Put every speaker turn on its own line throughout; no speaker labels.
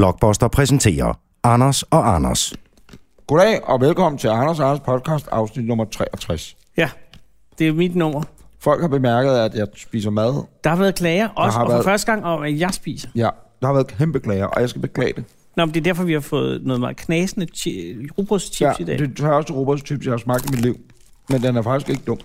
Blockbuster præsenterer Anders og Anders.
Goddag og velkommen til Anders og Anders podcast, afsnit nummer 63.
Ja, det er mit nummer.
Folk har bemærket, at jeg spiser mad.
Der har været klager, også
har
og for
været-
første gang om, at jeg spiser.
Ja, der har været kæmpe klager, og jeg skal beklage det.
Nå, men det er derfor, vi har fået noget meget knasende chi- rugbrødschips
ja,
i dag.
Det er
Det...
den tørreste robotschips, jeg har smagt i mit liv. Men den er faktisk ikke dum.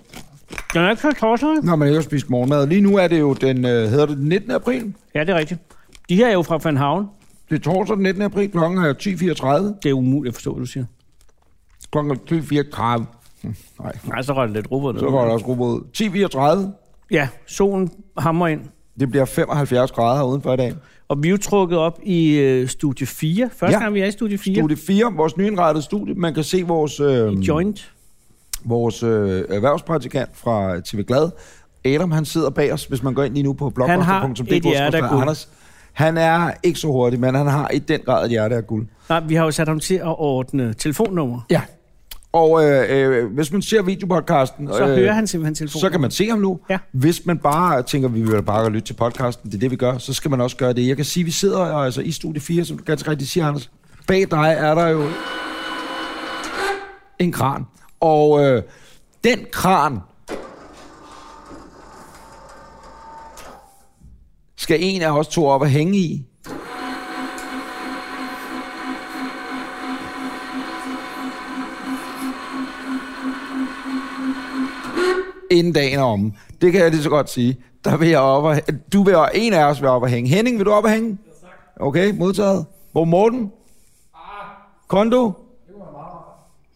Den er ikke så tosset.
Når man ikke har spist morgenmad. Lige nu er det jo den, øh, hedder det den 19. april.
Ja, det er rigtigt. De her er jo fra Van Havn.
Det er torsdag den 19. april, klokken er 10.34.
Det er umuligt at forstå, hvad du siger.
Klokken er 10.34. Hm, Nej,
Nej, så røg det lidt rugbrød ned.
så går der også robot. 10.34.
Ja, solen hammer ind.
Det bliver 75 grader udenfor i dag.
Og vi er jo trukket op i øh, studie 4. Første
Ja.
ja. gang, vi er i studie 4. Studie...
Studie 4, vores nyindrettede studie. Man kan se vores... Øh,
Joint.
vores øh, erhvervspraktikant fra TV Glad. Adam, han sidder bag os, hvis man går ind lige nu på
Han har
blogposter.dk.
et hjerte af guld.
Anders. Han er ikke så hurtig, men han har i den grad et hjerte af guld.
Nej, vi har jo sat ham til at ordne telefonnummer.
Ja. Og øh, øh, hvis man ser videopodcasten,
Så øh, hører han simpelthen telefonen.
så kan man se ham nu.
Ja.
Hvis man bare tænker, vi vil bare lytte til podcasten, det er det, vi gør, så skal man også gøre det. Jeg kan sige, vi sidder altså, i studie 4, som du ganske rigtigt siger, Anders. Bag dig er der jo en kran. Og øh, den kran skal en af os to op og hænge i. Inden dagen er omme. Det kan jeg lige så godt sige. Der vil jeg op og, du vil, en af os vil op og hænge. Henning, vil du op og hænge? Okay, modtaget. Hvor Morten?
Ah.
Kondo?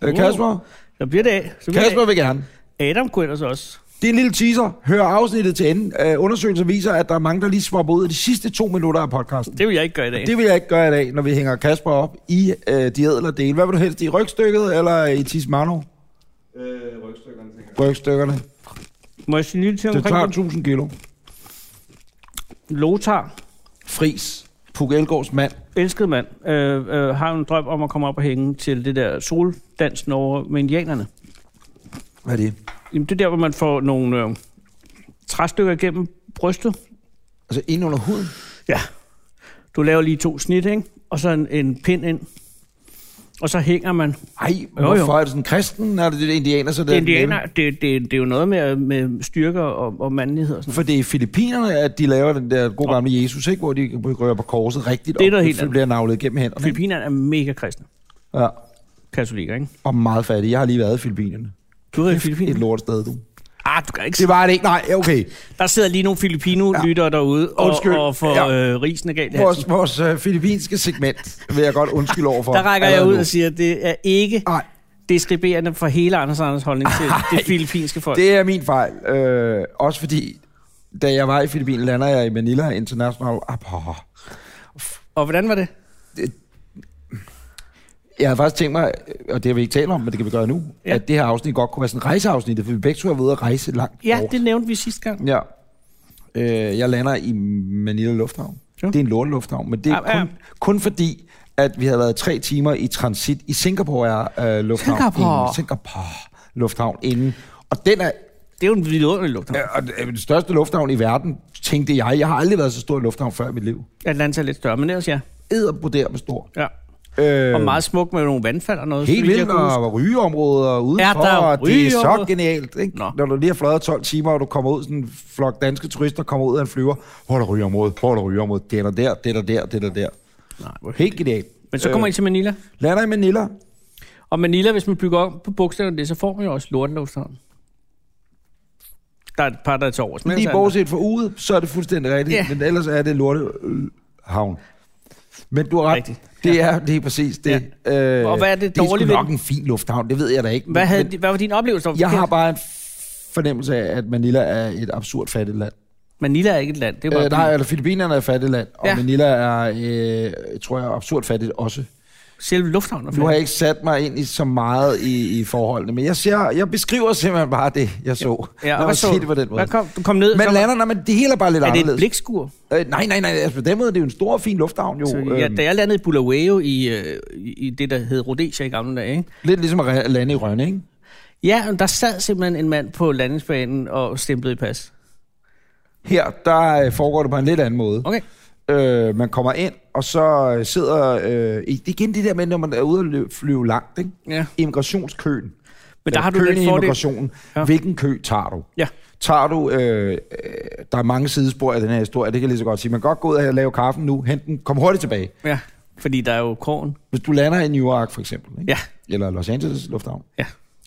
Øh, Kasper?
Så bliver det af. Så bliver
Kasper
det
vil gerne.
af. Adam kunne ellers også.
Det er en lille teaser. Hør afsnittet til enden. Øh, undersøgelser viser, at der er mange, der lige swapper ud i de sidste to minutter af podcasten.
Det vil jeg ikke gøre i dag. Det...
Det vil jeg ikke gøre i dag, når vi hænger Kasper op i øh, de ædler dele. Hvad vil du helst i rygstykket eller i Tismano?
Øh, rygstykkerne, tænker jeg.
Rygstykkerne.
Må jeg sige en lille ting
Det
omkring
tager
det?
1000 kilo.
Lothar,
Fris. Puk Elgårds mand.
elsket mand, øh, øh, har jo en drøm om at komme op og hænge til det der soldansen over med indianerne.
Hvad er det?
Jamen, det er der, hvor man får nogle øh, træstykker gennem brystet.
Altså ind under huden.
Ja. Du laver lige to snit, ikke? Og så en, en pind ind. Og så hænger man.
Ej,
jo.
hvorfor er det sådan kristen? Er det, det indianer, så det
Det,
er
indianer, det, det, det er jo noget med, øh, med styrker og, og mandlighed og sådan
For det er i Filippinerne, at de laver den der gode gamle Jesus, ikke? hvor de rører på korset rigtigt,
Det er noget
og
helt andet.
bliver navlet igennem hænderne. ikke?
Filippinerne er mega kristne.
Ja,
Katolikker, ikke?
og meget fattige. Jeg har lige været i Filippinerne.
Du ved i
Et
Filippinerne?
lortested, du.
Ah, du kan ikke
Det var det ikke. Nej, okay.
Der sidder lige nogle filipino-lyttere ja. derude og,
Undskyld.
og får
Ja.
ja. øh, risene galt i halsen.
Vores, vores øh, filippinske segment vil jeg godt undskylde over for.
Der rækker jeg ud
allerede
og siger, at det er ikke
nu. Nej,
deskriberende for hele Anders Anders holdning til
Ej.
det filippinske folk. Det...
det er min fejl. Øh, også fordi, da jeg var i Filippinerne, lander jeg i Manila International Airport.
Og hvordan var det?
Jeg havde faktisk tænkt mig, og det har vi ikke talt om, men det kan vi gøre nu, ja.
Ja.
at det her afsnit godt kunne være sådan en rejseafsnit, for vi begge to har været ude at rejse langt.
Ja,
over.
det nævnte vi sidste gang.
Ja. Øh, jeg lander i Manila Lufthavn. Ja.
Ja.
Det er en lortelufthavn, men det er
Ja,
ja,
ja.
kun, kun fordi, at vi havde været tre timer i transit i Singapore er, øh, Lufthavn.
Singapore.
Inden, Singapore Lufthavn inden. Og den er,
Det er jo en vidunderlig lugt.
øh, og det er den største lufthavn i verden, tænkte jeg. Jeg har aldrig været så stor i lufthavn før i mit liv.
Atlanta er lidt større, men ellers ja.
Edderboder med stor.
ja.
Øh,
Og meget smuk med nogle vandfald og noget. så
Helt
vidt jeg
vildt,
kunne huske.
og rygeområder udenfor,
Ja, der er
og det er så
rygeområder.
genialt, ikke?
Nå.
Når du lige har fløjet 12 timer, og du kommer ud, sådan en flok danske turister kommer ud af en flyver, hvor er der rygeområde, hvor er der rygeområde, det er der der, det er der der, det er der der.
Nej, hvor
Helt genialt.
Men så kommer
Øh.
I til Manila.
Lander i Manila.
Og Manila, hvis man bygger op på bogstaverne det, så får man jo også lortelufthavn. Der er et par, der er til overs. men altså-
Lige
ellers er-
bortset fra ude, så er det fuldstændig rigtigt,
Ja.
men ellers er det lortehavn. Men du har ret.
Rigtigt.
Det er lige præcis det. Øh,
Og hvad er det
Det er
dårlige
sgu
ved
nok
den?
en fin lufthavn, det ved jeg da ikke.
Hvad,
men-
havde,
men
hvad var din oplevelse? der var
Jeg har
forkert?
bare en fornemmelse af, at Manila er et absurd fattigt land.
Manila er ikke et land. Det er bare
Øh, nej, eller Filippinerne er et fattigt land, og ja.
Ja.
Manila er, øh, tror jeg, absurd fattigt også.
selve lufthavnen. er
Nu har
flot.
jeg ikke sat mig ind i så meget i, i forholdene, men jeg, ser, jeg beskriver simpelthen bare det, jeg så.
Ja, og
Lad
hvad
mig
så?
sige det på den måde.
Hvad kom, du kom ned,
Men
så
lander, nej, men det hele er bare lidt
var, er det et
anderledes.
blikskur?
Øh, nej, nej, nej, altså på den måde, det er jo en stor, fin lufthavn jo.
Så,
øhm,
ja, da jeg landede i Bulawayo i, øh, i i det, der hed Rhodesia i gamle dage, ikke?
Lidt ligesom at re- lande i Rønne, ikke?
Ja, men der sad simpelthen en mand på landingsbanen og stemplede i pas.
Her, der øh, foregår det på en lidt anden måde.
Okay.
Øh, man kommer ind, og så øh, sidder... Øh, i- det er igen det der med, når man er ude og lø- flyve langt, ikke?
Ja.
Immigrationskøen.
Men der har du
køen
den
i
fordel.
immigrationen.
Ja.
Ja. Hvilken kø tager du?
Ja.
Tager du... Øh, øh, der er mange sidespor af den her historie, det kan jeg lige så godt sige. Man kan godt gå ud og lave kaffen nu, hente den, kom hurtigt tilbage.
Ja, fordi der er jo korn.
Hvis du lander i Newark, for eksempel, ikke?
Ja.
eller Los Angeles Lufthavn,
Ja.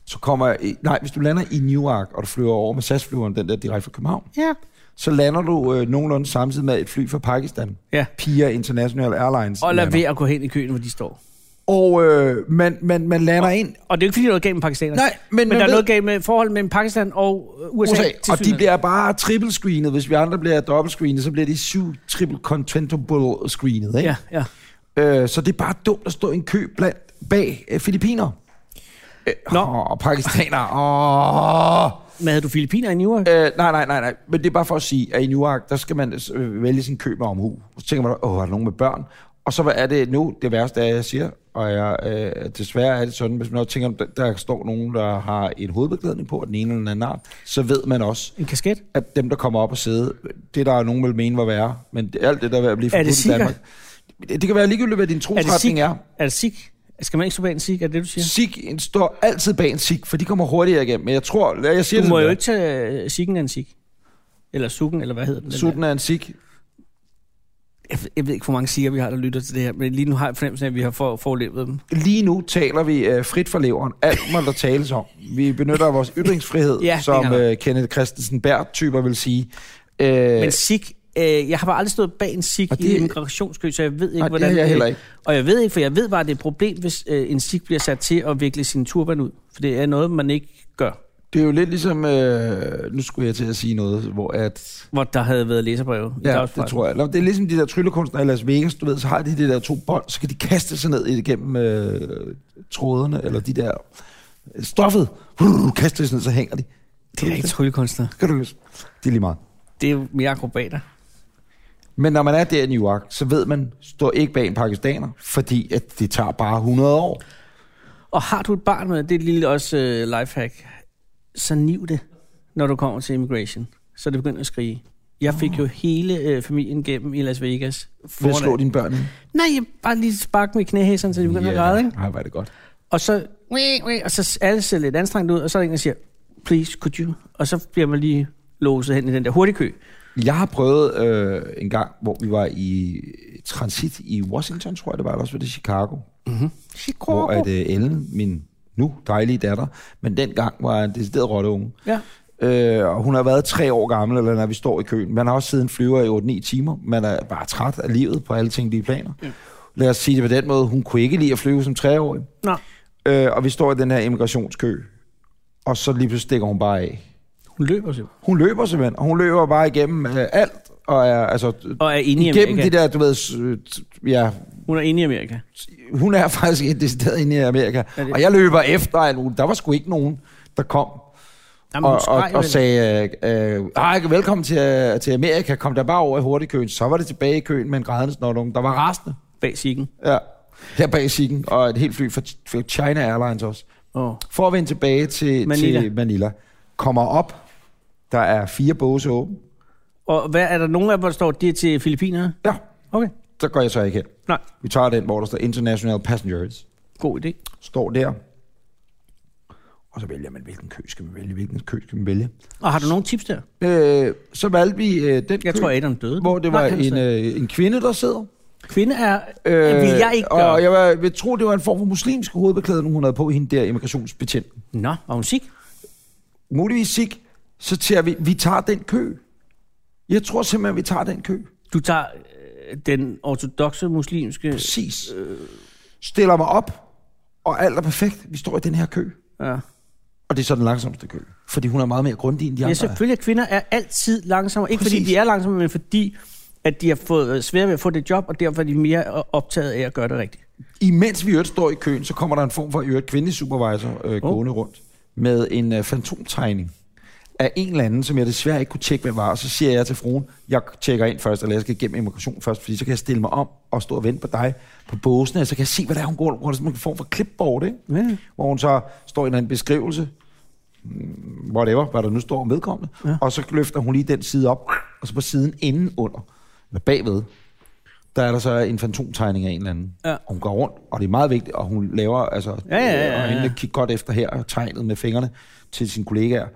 så kommer... i- Nej, hvis du lander i Newark, og du flyver over med SAS-flyveren, den der direkte fra København,
Ja.
så lander du øh, nogenlunde samtidig med et fly fra Pakistan.
Ja.
Pia International Airlines.
Og lad
lander.
være at gå hen i køen, hvor de står.
og øh, man, man, man lander ind.
Og det er jo ikke, fordi der er noget galt med pakistanerne.
Nej, men
men
man
der er
ved-
noget galt med forholdet mellem Pakistan og øh, USA.
USA, og de
tilsyneladende.
bliver bare triple-screenet. Hvis vi andre bliver dobbelt-screenet, så bliver de syv triple-contentable-screenet. Ikke?
Ja, ja.
Øh, så det er bare dumt at stå i en kø blandt, bag øh, filipiner. Øh,
Nå.
Og pakistanere. Åh.
Men havde du filipiner i New York?
Øh, nej, nej, nej, nej. Men det er bare for at sige, at i Newark, der skal man øh, vælge sin køb med omhu. Så tænker man, åh, er der nogen med børn? Og så hvad er det nu, det værste er, jeg siger, og jeg, øh, desværre er det sådan, hvis man også tænker, der, der står nogen, der har en hovedbeklædning på, af den ene eller den anden art, så ved man også,
En kasket?
at dem, der kommer op og sidder, det der er nogen vil mene var værre, men det, alt det, der er ved at blive
Er det
forbudt i
sikkert?
Danmark. Det, det kan være ligegyldigt, hvad din
Er det sik?
trosretning er.
Er det sik? Skal man ikke stå bag en sik? Er det det, du siger?
Sik en- står altid bag en sik, for de kommer hurtigere igennem. Men jeg tror, jeg siger
Du
det,
må
som
jo
det er.
ikke tage øh, sikken af en sik. Eller sukken, eller hvad hedder den? den der?
Sutten er en sik.
Jeg, ved- jeg ved ikke, hvor mange sikker vi har, der lytter til det her, men lige nu har jeg fornemmelsen af, at vi har for, forlevet dem.
Lige nu taler vi øh, frit fra leveren. Alt må der tales om. Vi benytter vores ytringsfrihed,
Ja,
ja,
det
som
gør vi.
øh, Kenneth Christensen Bært-typer vil sige. Øh,
Men sik, øh, jeg har bare aldrig stået bag en sik
Og
det, i
det-
en migrationskø, så jeg ved ikke,
Nej, det
hvordan
har jeg heller ikke.
Og jeg ved ikke, for jeg ved bare, at det er et problem, hvis øh, en sik bliver sat til at vikle sin turban ud. For det er noget, man ikke gør.
det er jo lidt ligesom... Øh, nu skulle jeg til at sige noget, hvor at...
Hvor der havde været læserbreve. i
Ja,
dagspressen.
det tror jeg. Nå, Det er ligesom de der tryllekunstnere i Las Vegas, du ved, så har de de der to bånd, så kan de kaste sig ned igennem øh, trådene, eller de der stoffet. Uh, kaster de sig ned, så hænger de.
Det er ikke tryllekunstner.
Kan du løse? Det er lige meget.
Det er jo mere akrobater.
Men når man er der i New York, så ved man, står ikke bag en pakistaner, fordi at det tager bare 100 år.
Og har du et barn med, det er et lille også øh, lifehack, så niv det, når du kommer til immigration. Så det begynder at skrige. Jeg fik jo hele øh, familien gennem i Las Vegas.
Ved at slå
Foran-
dine børn i?
Nej, jeg bare lige spark med knæhæserne, så de begynder yeah. at græde. Ikke?
Nej, var det godt.
Og så, wee, wee, og så alle ser lidt anstrengt ud, og så er der en, der siger, please, could you? Og så bliver man lige låset hen i den der hurtigkø.
Jeg har prøvet øh, en gang, hvor vi var i transit i Washington, tror jeg det var, eller også var det Chicago.
Chicago.
Hvor at øh, Ellen, min nu dejlige datter, men dengang var en decideret rotteunge.
Ja.
Øh, og hun har været tre år gammel, eller når vi står i køen. Man har også siddet en flyver i 8-9 timer. Man er bare træt af livet på alle ting, de planer. Lad os sige det på den måde. Hun kunne ikke lide at flyve som treårig.
Nå,
Øh, og vi står i den her immigrationskø. Og så lige pludselig stikker hun bare af.
hun løber simpelthen.
Hun løber simpelthen, og hun løber bare igennem øh, alt, og er, altså,
Og er inde i
igennem
Amerika.
det der, du ved, s- øh, t- ja,
Hun er inde i Amerika.
hun er faktisk et decideret inde i Amerika,
Ja, det-
og jeg løber efter alt muligt. Der var sgu ikke nogen, der kom
Jamen, hun
og, og,
skreg
og
vel.
sagde, øh, øh, "Ej, velkommen til, øh, til Amerika, kom der bare over i hurtigkøen. Så var det tilbage i køen med en grædende snorlunge, der var rasende.
bag sikken.
Ja, her bag sikken, og et helt fly fra, fra China Airlines også.
Oh.
For at vende tilbage til
Manila.
Manila, til Manila kommer op, der er fire båse åbne.
Og hvad, er der nogen af dem, hvor der står, de er til Filippinerne?
Ja,
Okay.
der går jeg så ikke hen.
Nej,
Vi tager den, hvor der står International Passengers.
god idé.
Står der. Og så vælger man, hvilken kø skal man vælge, hvilken kø skal man vælge.
Og har du nogle tips der?
Øh, så valgte vi øh, den
Jeg
kø,
tror, Adam døde.
hvor det var
Nej, han er
en,
stadig.
øh, en kvinde, der sidder.
Kvinde er... Øh, vil jeg ikke gøre.
og jeg var- vil tro, det var en form for muslimsk hovedbeklædning, hun havde på hende der immigrationsbetjenten.
Nå, var hun sik?
Muligvis sik, så tager vi, vi tager den kø. Jeg tror simpelthen, vi tager den kø.
Du tager øh, den ortodoxe muslimske...
Præcis. Stiller mig op, og alt er perfekt. Vi står i den her kø.
Ja.
Og det er så den langsomste kø. Fordi hun er meget mere grundig end de
ja,
andre. er.
selvfølgelig, at kvinder er altid langsommere. Ikke fordi
øh. Præcis.
de er langsommere, men fordi at de har fået øh, svært ved at få det job, og derfor er de mere øh, optaget af at gøre det rigtigt.
Imens vi i øvrigt står i køen, så kommer der en form for i øvrigt kvindelig supervisor øh,
Oh.
gående rundt med en øh, fantomtegning af en eller anden, som jeg desværre ikke kunne tjekke, hvad var. Og så siger jeg til fruen, jeg tjekker ind først, eller jeg skal igennem immigration først, fordi så kan jeg stille mig om og stå og vente på dig på båsene, og så kan jeg se, hvad der er, hun går rundt. Det er en form for klipboard, ikke?
Ja.
hvor hun så står i en eller anden beskrivelse, mm, whatever, hvad der nu står om vedkommende, ja. og så løfter hun lige den side op, og så på siden inden under, eller bagved, der er der så en fantomtegning af en eller anden.
Ja.
Hun går rundt, og det er meget vigtigt, og hun laver, altså,
Ja, ja, ja,
øh, og
ja.
hende kigger godt efter her, og tegnet med fingrene til sine kollegaer,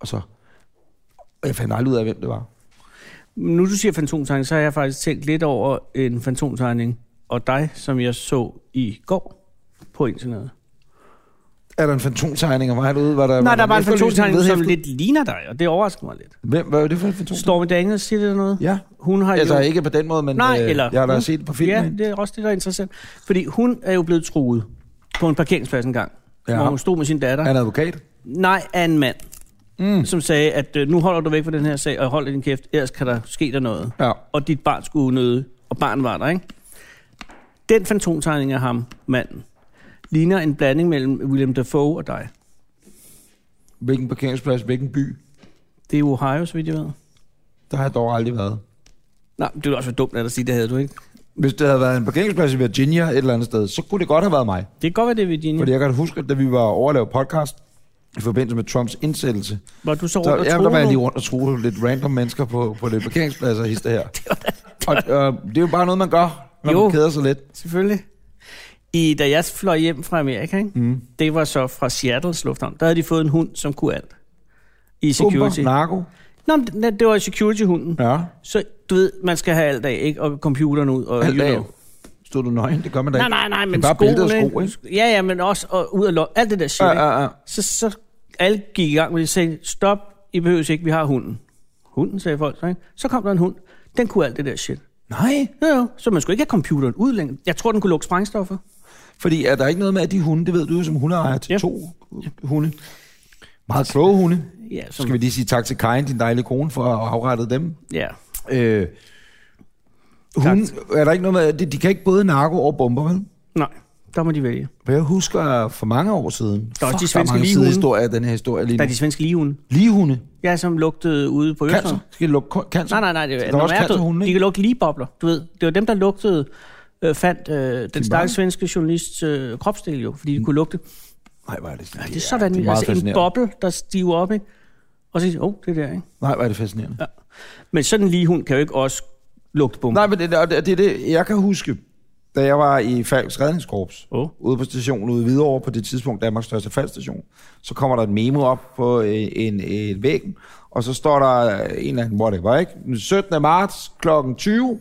og så, og jeg fandt aldrig ud af, hvem det var.
Nu du siger fantomtegning, så har jeg faktisk tænkt lidt over en fantomtegning og dig, som jeg så i går på internettet.
Er der en fantomtegning af mig derude? Var der,
Nej, der var en
efterlysning
fantomtegning, som
vedhæftet?
lidt ligner dig, og det overrasker mig lidt.
Hvem, hvad var det for en fantom?
Stormy Daniels, siger det dig noget?
Ja,
Hun har
altså
jo...
ikke på den måde, men
Nej,
øh,
eller-
jeg har da
Mm.
set det på filmen.
Ja, det er også det, der er interessant. Fordi hun er jo blevet truet på en parkeringsplads engang,
Ja.
ja. hvor hun stod med sin datter.
Er han advokat?
Nej, af en mand,
Mm.
som sagde, at øh, nu holder du væk fra den her sag, og hold din kæft, ellers kan der ske der noget.
Ja.
Og dit barn skulle nøde, og barn var der, ikke? Den fantomtegning af ham, manden, ligner en blanding mellem William Dafoe og dig.
Hvilken parkeringsplads, hvilken by?
Det er Ohio, så vidt jeg ved.
Der har jeg dog aldrig været.
Nej, det ville også være dumt af dig at sige, det havde du ikke.
Hvis det havde været en parkeringsplads i Virginia et eller andet sted, så kunne det godt have været mig.
Det kan godt være det, er Virginia.
Fordi
Fordi...
jeg kan huske, at da vi var over at lave podcast i forbindelse med Trumps indsættelse,
Var du så rundt
der,
og
ja, der
troede
var jeg lige
nogen?
rundt og troede lidt random mennesker på, på det parkeringspladser og hister her. Og øh, det er jo bare noget, man gør, når
Jo.
man keder sig lidt.
Selvfølgelig. I, da jeg fløj hjem fra Amerika, ikke?
Mm.
det var så fra Seattles lufthavn, der havde de fået en hund, som kunne alt. I security.
Bomber, narko.
Nå, men det, det var security-hunden.
Ja.
Så du ved, man skal have alt af, ikke? Og computeren ud. Og,
Alt
you
af.
know.
Stod du nøgen? Det gør man da
Nej,
ikke.
nej, nej, men
bare bæltet og
skoene,
sko,
Ja, ja, men også og ud af lo- alt det der shit. Ja,
Ja, ja, ja.
Så, så alle gik i gang med det, sagde, stop, I behøver ikke, vi har hunden. Hunden, sagde folk så, ikke? Så kom der en hund, den kunne alt det der shit.
Nej.
Jo, jo, så man skulle ikke have computeren ud længere. Jeg tror, den kunne lukke sprængstoffer.
Fordi er der ikke noget med, at de hunde, det ved du jo som hundeejer til
Ja.
to hunde. Meget kloge hunde.
Ja,
Så
som,
skal vi lige sige tak til Karin, din dejlige kone, for at have afrettet dem.
ja.
Øh, hun, er der ikke noget med, de, de kan ikke både narko og bomber, vel?
Nej, der må de vælge.
For jeg husker for mange år siden.
er også de
der er
svenske
mange
ligehunde.
sidehistorier af den her historie lige
Der
nu.
er de svenske ligehunde.
Ligehunde.
Ja, som lugtede ude på
Cancer.
Øresund.
Skal de lukke ko- cancer?
Nej, nej, nej. Det,
Så
er,
der er
når
også
man er
cancerhunde,
død, de
ikke?
kan lukke ligebobler. Du ved, det var dem, der lugtede, øh, fandt øh, den stakkels svenske journalists øh, kropsdel jo, fordi de kunne lugte.
Nej, hvor er det sådan.
Det er så vanvittigt.
meget
altså en
fascinerende.
boble, der stiver op, ikke? Og så siger de, oh, det er der, ikke?
Nej, hvor er det fascinerende. Ja.
Men sådan en ligehund kan jo ikke også lugte bomber.
Nej, men det, og det, det, er det, jeg kan huske, da jeg var i Falks Redningskorps,
Åh.
ude på stationen ude i Hvidovre, på det tidspunkt Danmarks største faldstation, så kommer der et memo op på en, en, en væggen, og så står der en eller anden, whatever, ikke? Den 17. marts kl. 20,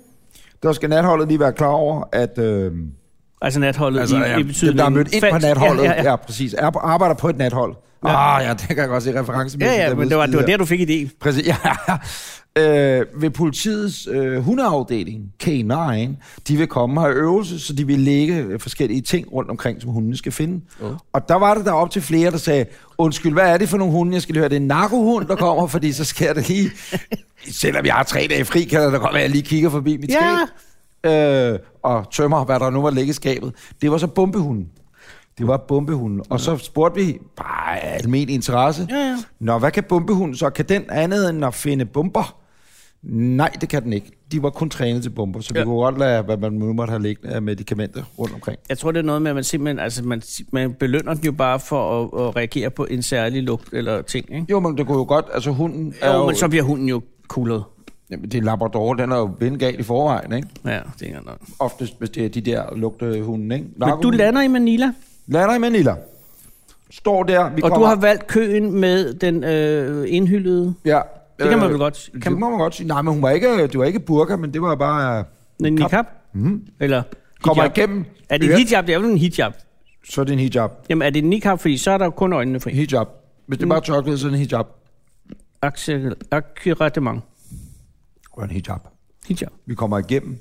der skal natholdet lige være klar over, at øh,
Altså natholdet altså, i, i
dem,
betydningen.
der er mødt ind på
Falsk-
natholdet,
Ja, ja, ja.
præcis, er, arbejder på et nathold. Ja.
Ja.
Ah, ja, det kan jeg godt se referencemæssigt.
ja, ja
der
men det var, det var
udskider.
der, du fik idé.
Præcis, ja. Øh, ved politiets øh, hundeafdeling, K9, de vil komme og have øvelse, så de vil lægge forskellige ting rundt omkring, som hundene skal finde. Uh. Og der var det der op til flere, der sagde, undskyld, hvad er det for nogle hunde, jeg skal lige høre? Det er en narkohund, der kommer, fordi så sker det lige... Selvom jeg har tre dage fri, kan der da godt være, at jeg lige kigger forbi mit
Ja.
skab. Øh, og tømmer, hvad der nu var ligge i skabet. Det var så bombehunden. Det var bombehunden. Og så spurgte vi, bare af almen interesse,
Ja, ja.
Nå, hvad kan bombehunden så? Kan den andet end at finde bomber? Nej, det kan den ikke. De var kun trænet til bomber, så ja. vi
Ja.
kunne godt lade, hvad man nu måtte have liggende af medicamenter rundt omkring.
Jeg tror, det er noget med, at man simpelthen, altså man, man belønner den jo bare for at, at reagere på en særlig lugt eller ting, ikke?
Jo, men det kunne jo godt, altså hunden er
Jo,
jo...
men så bliver hunden jo kuglet.
Jamen, det er Labrador, den er jo vindgal i forvejen, ikke?
Ja, det er ikke nok.
Oftest, hvis det er de der lugtehunden, ikke?
Men du
Narkohunden.
lander i Manila, vi
lander i Manila. Står der, vi
og
kommer...
du har valgt køen med den øh, indhyldede.
Ja.
Det kan man
øh,
vel godt.
Det
Kan
må man godt sige. Nej, men hun var ikke, øh, det var ikke burka, men det var bare... øh,
man,
Kap-
niqab? Mm. Eller
Mhm. Kommer
hijab?
igennem.
Er det en hijab? Det er vel en hijab.
Så er det en hijab.
Jamen, er det en niqab? Fordi så er der jo kun øjnene fri.
Hijab. Hvis
Mm.
det er bare tørklæde, så er det en hijab.
Accel- Accurattement.
Grøn hijab.
Hijab.
Vi kommer igennem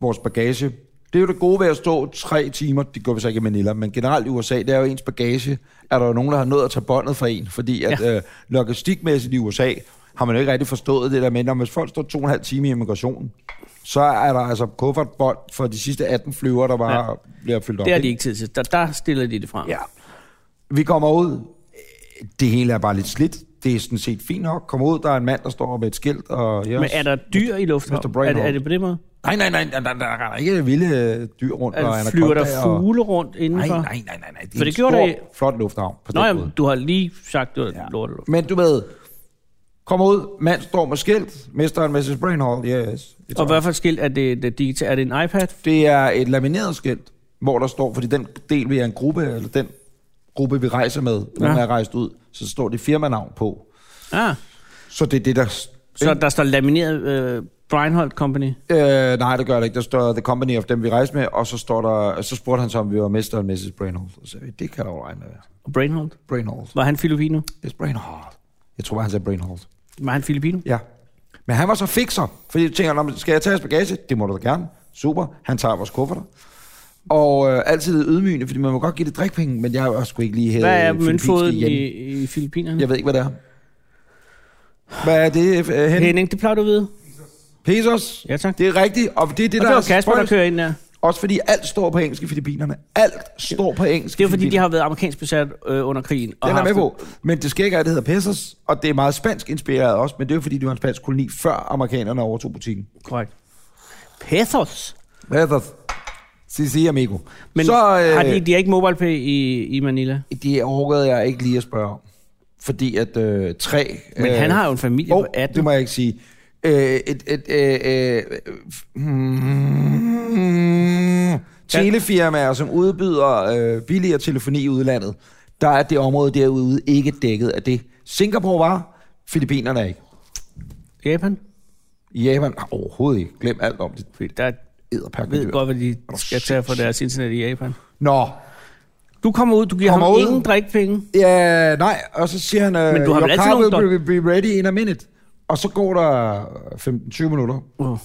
vores bagage. Det er jo det gode ved at stå tre timer. Det går vi så ikke i Manila, men generelt i USA, det er jo ens bagage. Er der jo nogen, der har nået at tage båndet fra en? Fordi at ja. øh, logistikmæssigt i USA har man jo ikke rigtig forstået det der med, når hvis folk står to og en halv time i immigrationen, så er der altså kuffertbånd for de sidste 18 flyver, der bare ja. bliver fyldt op.
Det har de
ikke?
ikke tid til. Der, der stiller de det frem.
Ja. Vi kommer ud. Det hele er bare lidt slidt. Det er sådan set fint nok. Kommer ud, der er en mand, der står med et skilt. Og yes.
Men er der dyr i
Mr.
lufthavnen? Er,
Brainhold.
det- er det på den måde?
Nej, nej, nej, der, der, der, der er ikke vilde øh, dyr rundt. og
Altså, flyver
anakondaer
der
og-
fugle rundt indenfor?
Nej, nej, nej, nej, nej. Det er
For
en
det gjorde
stor,
det-
flot lufthavn. På
Nå,
den
jamen,
måde.
du har lige sagt, det var
Ja.
ja. lort. lort.
Men du ved, Kommer ud, mand står med skilt, mister en Mrs. Brainhold, yes. Det tror
Og
jeg.
hvad for et skilt er det, det digital? Er det en iPad?
Det er et lamineret skilt, hvor der står, fordi den del vi er en gruppe, eller den gruppe vi rejser med, når
Ja.
man er rejst ud, så står det firmanavn på.
Ah,
Så det er det, der...
så der står lamineret øh, Breinholt Company.
Øh, nej, det gør det ikke. Der står The Company of dem, vi rejste med, og så, står der, så spurgte han så, om vi var Mr. og Mrs. Brainhold. Så sagde vi, det kan der jo regne med. at være.
Og Brainholt?
Brainhold.
Var han filipino?
It's Brainhold. Jeg tror, han sagde Brainhold.
Var han filipino?
Ja. Men han var så fikser, fordi jeg tænker, "Nå, men skal jeg tage hans bagage? Det må du da gerne. Super. Han tager vores kufferter. Og øh, altid ydmygende, fordi man må godt give det drikpenge, men jeg har også sgu ikke lige hævet
Hvad er
øh, filippinske
møntfoden
yen.
i, i Filippinerne?
Jeg ved ikke, hvad det er. Hvad er det, øh, Henning?
Henning, det plejer du ved.
Pesos.
Ja, tak. Det,
Det er rigtigt, og det er det,
og
der
det
er
var Kasper, der
spøjst.
kører ind der.
Også fordi alt står på engelsk i Filippinerne. Alt står på engelsk
Det
i
er jo fordi, de
Filippinerne.
har været amerikansk besat øh, under krigen. Og
Den er
har
med
haft-
på. Men det skægge er, at det hedder Pesos, og det er meget spansk inspireret også, men det er jo fordi, det var en spansk koloni, før amerikanerne overtog butikken.
Korrekt. Pesos.
Pesos. Si, si, amigo.
Men
så, øh,
har de, de har ikke mobile pay i, i Manila.
Det overgåede jeg ikke lige at spørge om. Fordi at øh, tre...
Men
øh,
han har jo en familie
jo,
på 18.
det må jeg ikke sige. Øh, et, et, øh, øh, f- hmm, telefirmaer, som udbyder øh, billigere telefoni i udlandet, der er det område derude ikke dækket af det. Singapore var, Filippinerne er ikke.
Japan?
Japan overhovedet ikke. Glem alt om det.
Fordi Der
Edderpakke
ved
dyr.
godt, hvad de
du
skal tage for deres internet i Japan.
Nå,
Du kommer ud, du giver
Kommer
ham
ud.
ingen drikpenge.
Ja, nej, og så siger han, øh,
Men du har
your
vel altid
car will
nogen,
be, be ready in a minute. Og så går der 15-20 minutter.
Uh.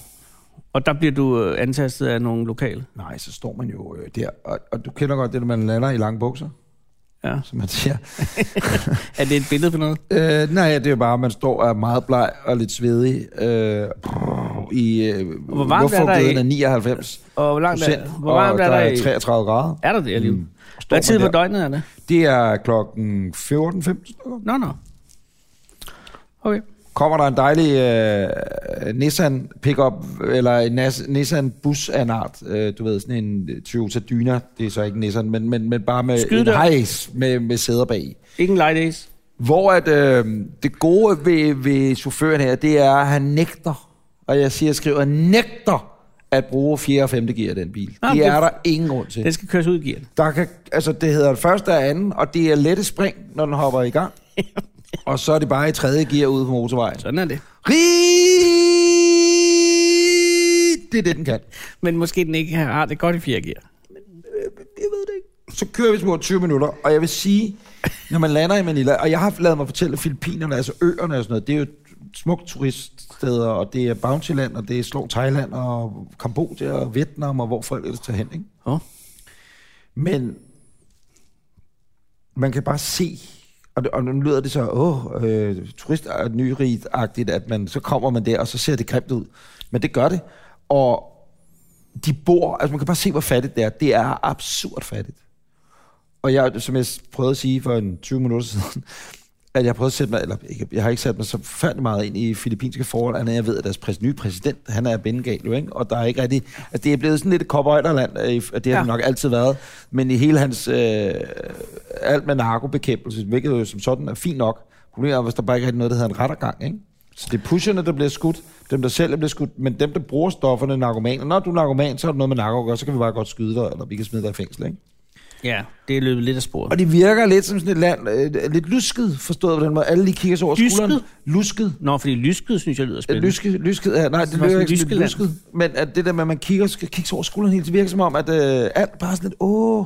Og der bliver du øh, antastet af nogle lokale.
Nej, så står man jo øh, der, og, og du kender godt det, når man lander i lange bukser,
Ja.
som man siger.
Er det et billede på noget?
Øh, nej, det er jo bare, at man står og er meget bleg og lidt svedig øh, i øh,
Hvor varmt er der i-
luftfugtigheden af 99
Og hvor langt
procent,
er, hvor
og
varmt
der
er der,
er
i-
33 grader.
Er der det alligevel? Mm.
Står
Hvad tid
man
på
der.
døgnet er det?
Det er klokken 14.15 stykker.
Nå, nå. Okay.
kommer der en dejlig øh, Nissan pickup, eller en Nas- Nissan bus af en art, øh, du ved, sådan en Toyota Dyna, det er så ikke Nissan, men, men, men bare med
Skyd
en
der.
hejs med, med sæder bag.
Ingen light days.
Hvor at, øh, det gode ved, ved chaufføren her, det er, at han nægter, og jeg siger, jeg skriver, nægter at bruge 4. og 5. gear i den bil.
Nå,
det
det-
er der ingen grund til.
Den skal køres ud i gear.
Der kan, altså, det hedder det første og anden, og det er lette spring, når den hopper i gang. og så er det bare i tredje gear ude på motorvejen.
Sådan er det.
Rig... Det er det, den kan.
Men måske den ikke har det godt i fjerde gear.
Jeg ved det ikke. Så kører vi små 20 minutter, og jeg vil sige, når man lander i Manila, og jeg har lavet mig fortælle, at Filippinerne, altså øerne og sådan noget, det er jo smukt turiststeder, og det er Bountyland, og det er Slå Thailand, og Kambodja, og Vietnam, og hvor folk ellers tager hen, ikke?
Åh.
Men man kan bare se, og, det, og nu lyder det så, åh, øh, turist er nyrigt-agtigt, at man, så kommer man der, og så ser det grimt ud. Men det gør det. Og de bor, altså man kan bare se, hvor fattigt det er. Det er absurd fattigt. Og jeg, som jeg prøvede at sige for en 20 minutter siden, at jeg prøvede at sætte mig, eller ikke, jeg har ikke sat mig så fandme meget ind i filippinske forhold, andet end jeg ved, at deres præs, nye præsident, han er Bengal, jo, ikke? og der er ikke rigtig, altså det er blevet sådan lidt et cowboyderland, øh, i- og det har det
Ja.
nok altid været, men i hele hans, øh, alt med narkobekæmpelse, hvilket jo som sådan er fint nok, problemet er, hvis der bare ikke er noget, der hedder en rettergang, ikke? Så det er pusherne, der bliver skudt, dem, der sælger, bliver skudt, men dem, der bruger stofferne, narkomaner, når du er narkoman, så har du noget med narko at gøre, så kan vi bare godt skyde dig, eller vi kan smide dig i fængsel, ikke?
Ja, det er løbet lidt af sporet.
Og det virker lidt som sådan et land, øh, lidt lusket, forstået på den måde. Alle lige kigger sig over
Lysket?
skulderen. Lusket?
Nå, fordi lysket synes jeg lyder spændende.
Lyske, lysket, ja, nej, det
Det var
lyder
sådan
ikke som et
lyskeland.
lusket. Men at det der med, at man kigger, skal kigge sig over skulderen helt, det virker som om, at øh, alt bare er sådan lidt, åh,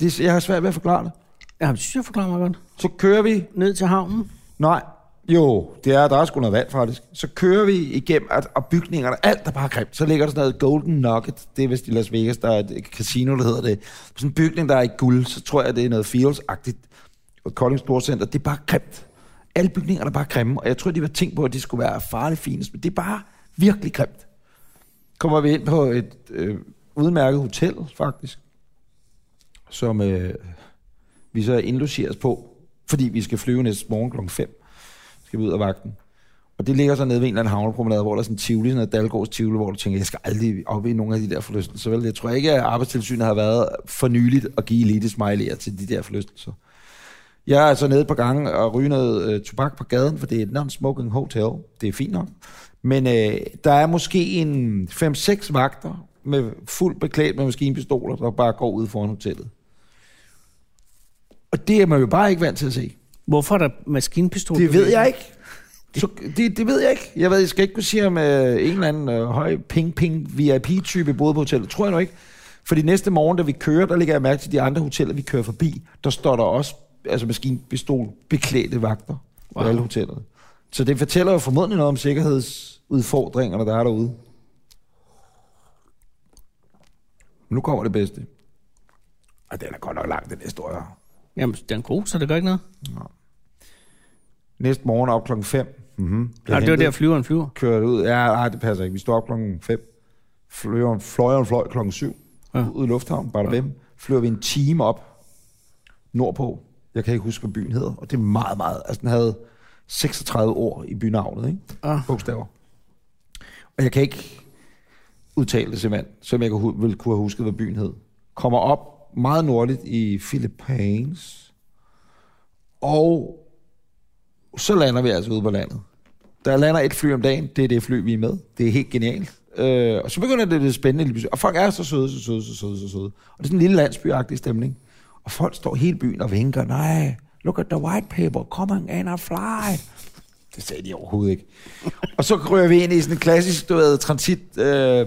det, jeg har svært ved at forklare det.
Ja, det synes jeg forklarer mig godt.
Så kører vi,
Ned til havnen.
nej, jo, det er, der er sgu noget vand faktisk. Så kører vi igennem, at, og bygningerne, alt der bare er grimt. Så ligger der sådan noget Golden Nugget, det er vist i Las Vegas, der er et casino, der hedder det. Sådan en bygning, der er i guld, så tror jeg, det er noget Fields-agtigt. og Kolding Storcenter, det er bare grimt. Alle bygningerne er bare grimme, og jeg tror, de var tænkt på, at de skulle være farligt finest, men det er bare virkelig grimt. Kommer vi ind på et øh, udmærket hotel, faktisk, som øh, vi så indlogeres på, fordi vi skal flyve næste morgen kl. 5. Skal vi ud af vagten. Og det ligger så nede ved en eller anden havnepromenade, hvor der er sådan en tivoli, sådan noget Dalgårds tivoli, hvor du tænker, jeg skal aldrig op i nogle af de der forlystelser. Vel, jeg tror ikke, at arbejdstilsynet har været for nyligt at give elite smiley'er til de der forlystelser. Jeg er så nede på gange og ryger noget øh, tobak på gaden, for det er et non-smoking hotel. Det er fint nok. Men øh, der er måske en 5-6 vagter med fuldt beklædt med maskinpistoler, der bare går ud foran hotellet. Og det er man jo bare ikke vant til at se.
Hvorfor er der maskinpistol?
Det ved jeg ikke. Så, det, det ved jeg ikke. Jeg ved, jeg skal ikke kunne sige, om øh, en eller anden øh, høj ping-ping VIP-type boede på hotellet. Tror jeg nu ikke. Fordi næste morgen, da vi kører, der lægger jeg mærke til de andre hoteller, vi kører forbi. Der står der også altså maskinpistol beklædte vagter wow. på alle hotellerne. Så det fortæller jo formodentlig noget om sikkerhedsudfordringerne, der er derude. Men nu kommer det bedste. Og den er godt nok lang, den historie her.
Jamen, den er god, så det gør ikke noget.
Næste morgen op klokken 5. Mm-hmm.
Nej, det var der, flyveren flyver.
kørt ud. Ja, nej, det passer ikke. Vi står op klokken 5. Fløjeren, fløjeren fløj klokken 7.
Ja.
Ja. Ud i lufthavnen, bare ja. Flyver vi en time op nordpå. Jeg kan ikke huske, hvad byen hedder. Og det er meget, meget... Altså, den havde 36 ord i bynavnet, ikke?
Ah.
Bogstaver. Og jeg kan ikke udtale det simpelthen, som jeg kunne, ville kunne have husket, hvad byen hed. Kommer op meget nordligt i Philippines. Og så lander vi altså ude på landet. Der lander et fly om dagen, det er det fly, vi er med. Det er helt genialt. Øh, og så begynder det lidt spændende lige pludselig. Og folk er så søde, så søde, så søde, så søde. Og det er sådan en lille landsbyagtig stemning. Og folk står hele byen og vinker, nej, look at the white paper, come on and fly. Det sagde de overhovedet ikke. Og så ryger vi ind i sådan en klassisk, du ved, transit øh,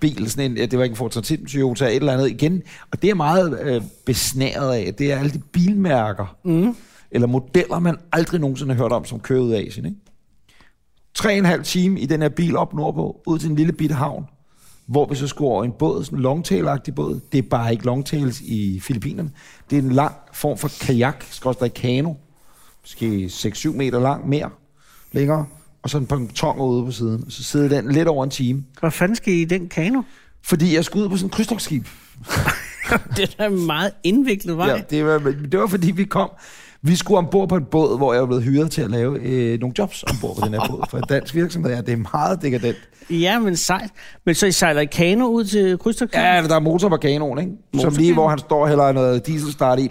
bil, sådan en, ja, det var ikke en Ford Transit, en Toyota, et eller andet igen. Og det er meget øh, besnæret af, det er alle de bilmærker, mm. eller modeller, man aldrig nogensinde har hørt om, som kører ud af Asien, ikke? tre og en halv time i den her bil op nordpå, ud til en lille bitte havn, hvor vi så skulle over i en båd, sådan en longtail-agtig båd. Det er bare ikke longtails i Filippinerne. Det er en lang form for kajak, skråstrej kano, måske 6-7 meter lang, mere, længere, og så en ponton ude på siden. Og så sidder den lidt over en time,
Hvad fanden skal I i den kano?
fordi jeg skulle ud på sådan en krydstogtskib.
det er da en meget indviklet vej.
Ja, det, var, men det var fordi, vi kom... Vi skulle ombord på en båd, hvor jeg var blevet hyret til at lave øh, nogle jobs ombord på den her båd. For en dansk virksomhed er det meget dekadent.
Ja, men sejt. Men så I sejler i kano ud til krydstogten?
Ja, der er motor på kanonen, ikke? Som lige, hvor han står og hælder noget dieselstart i.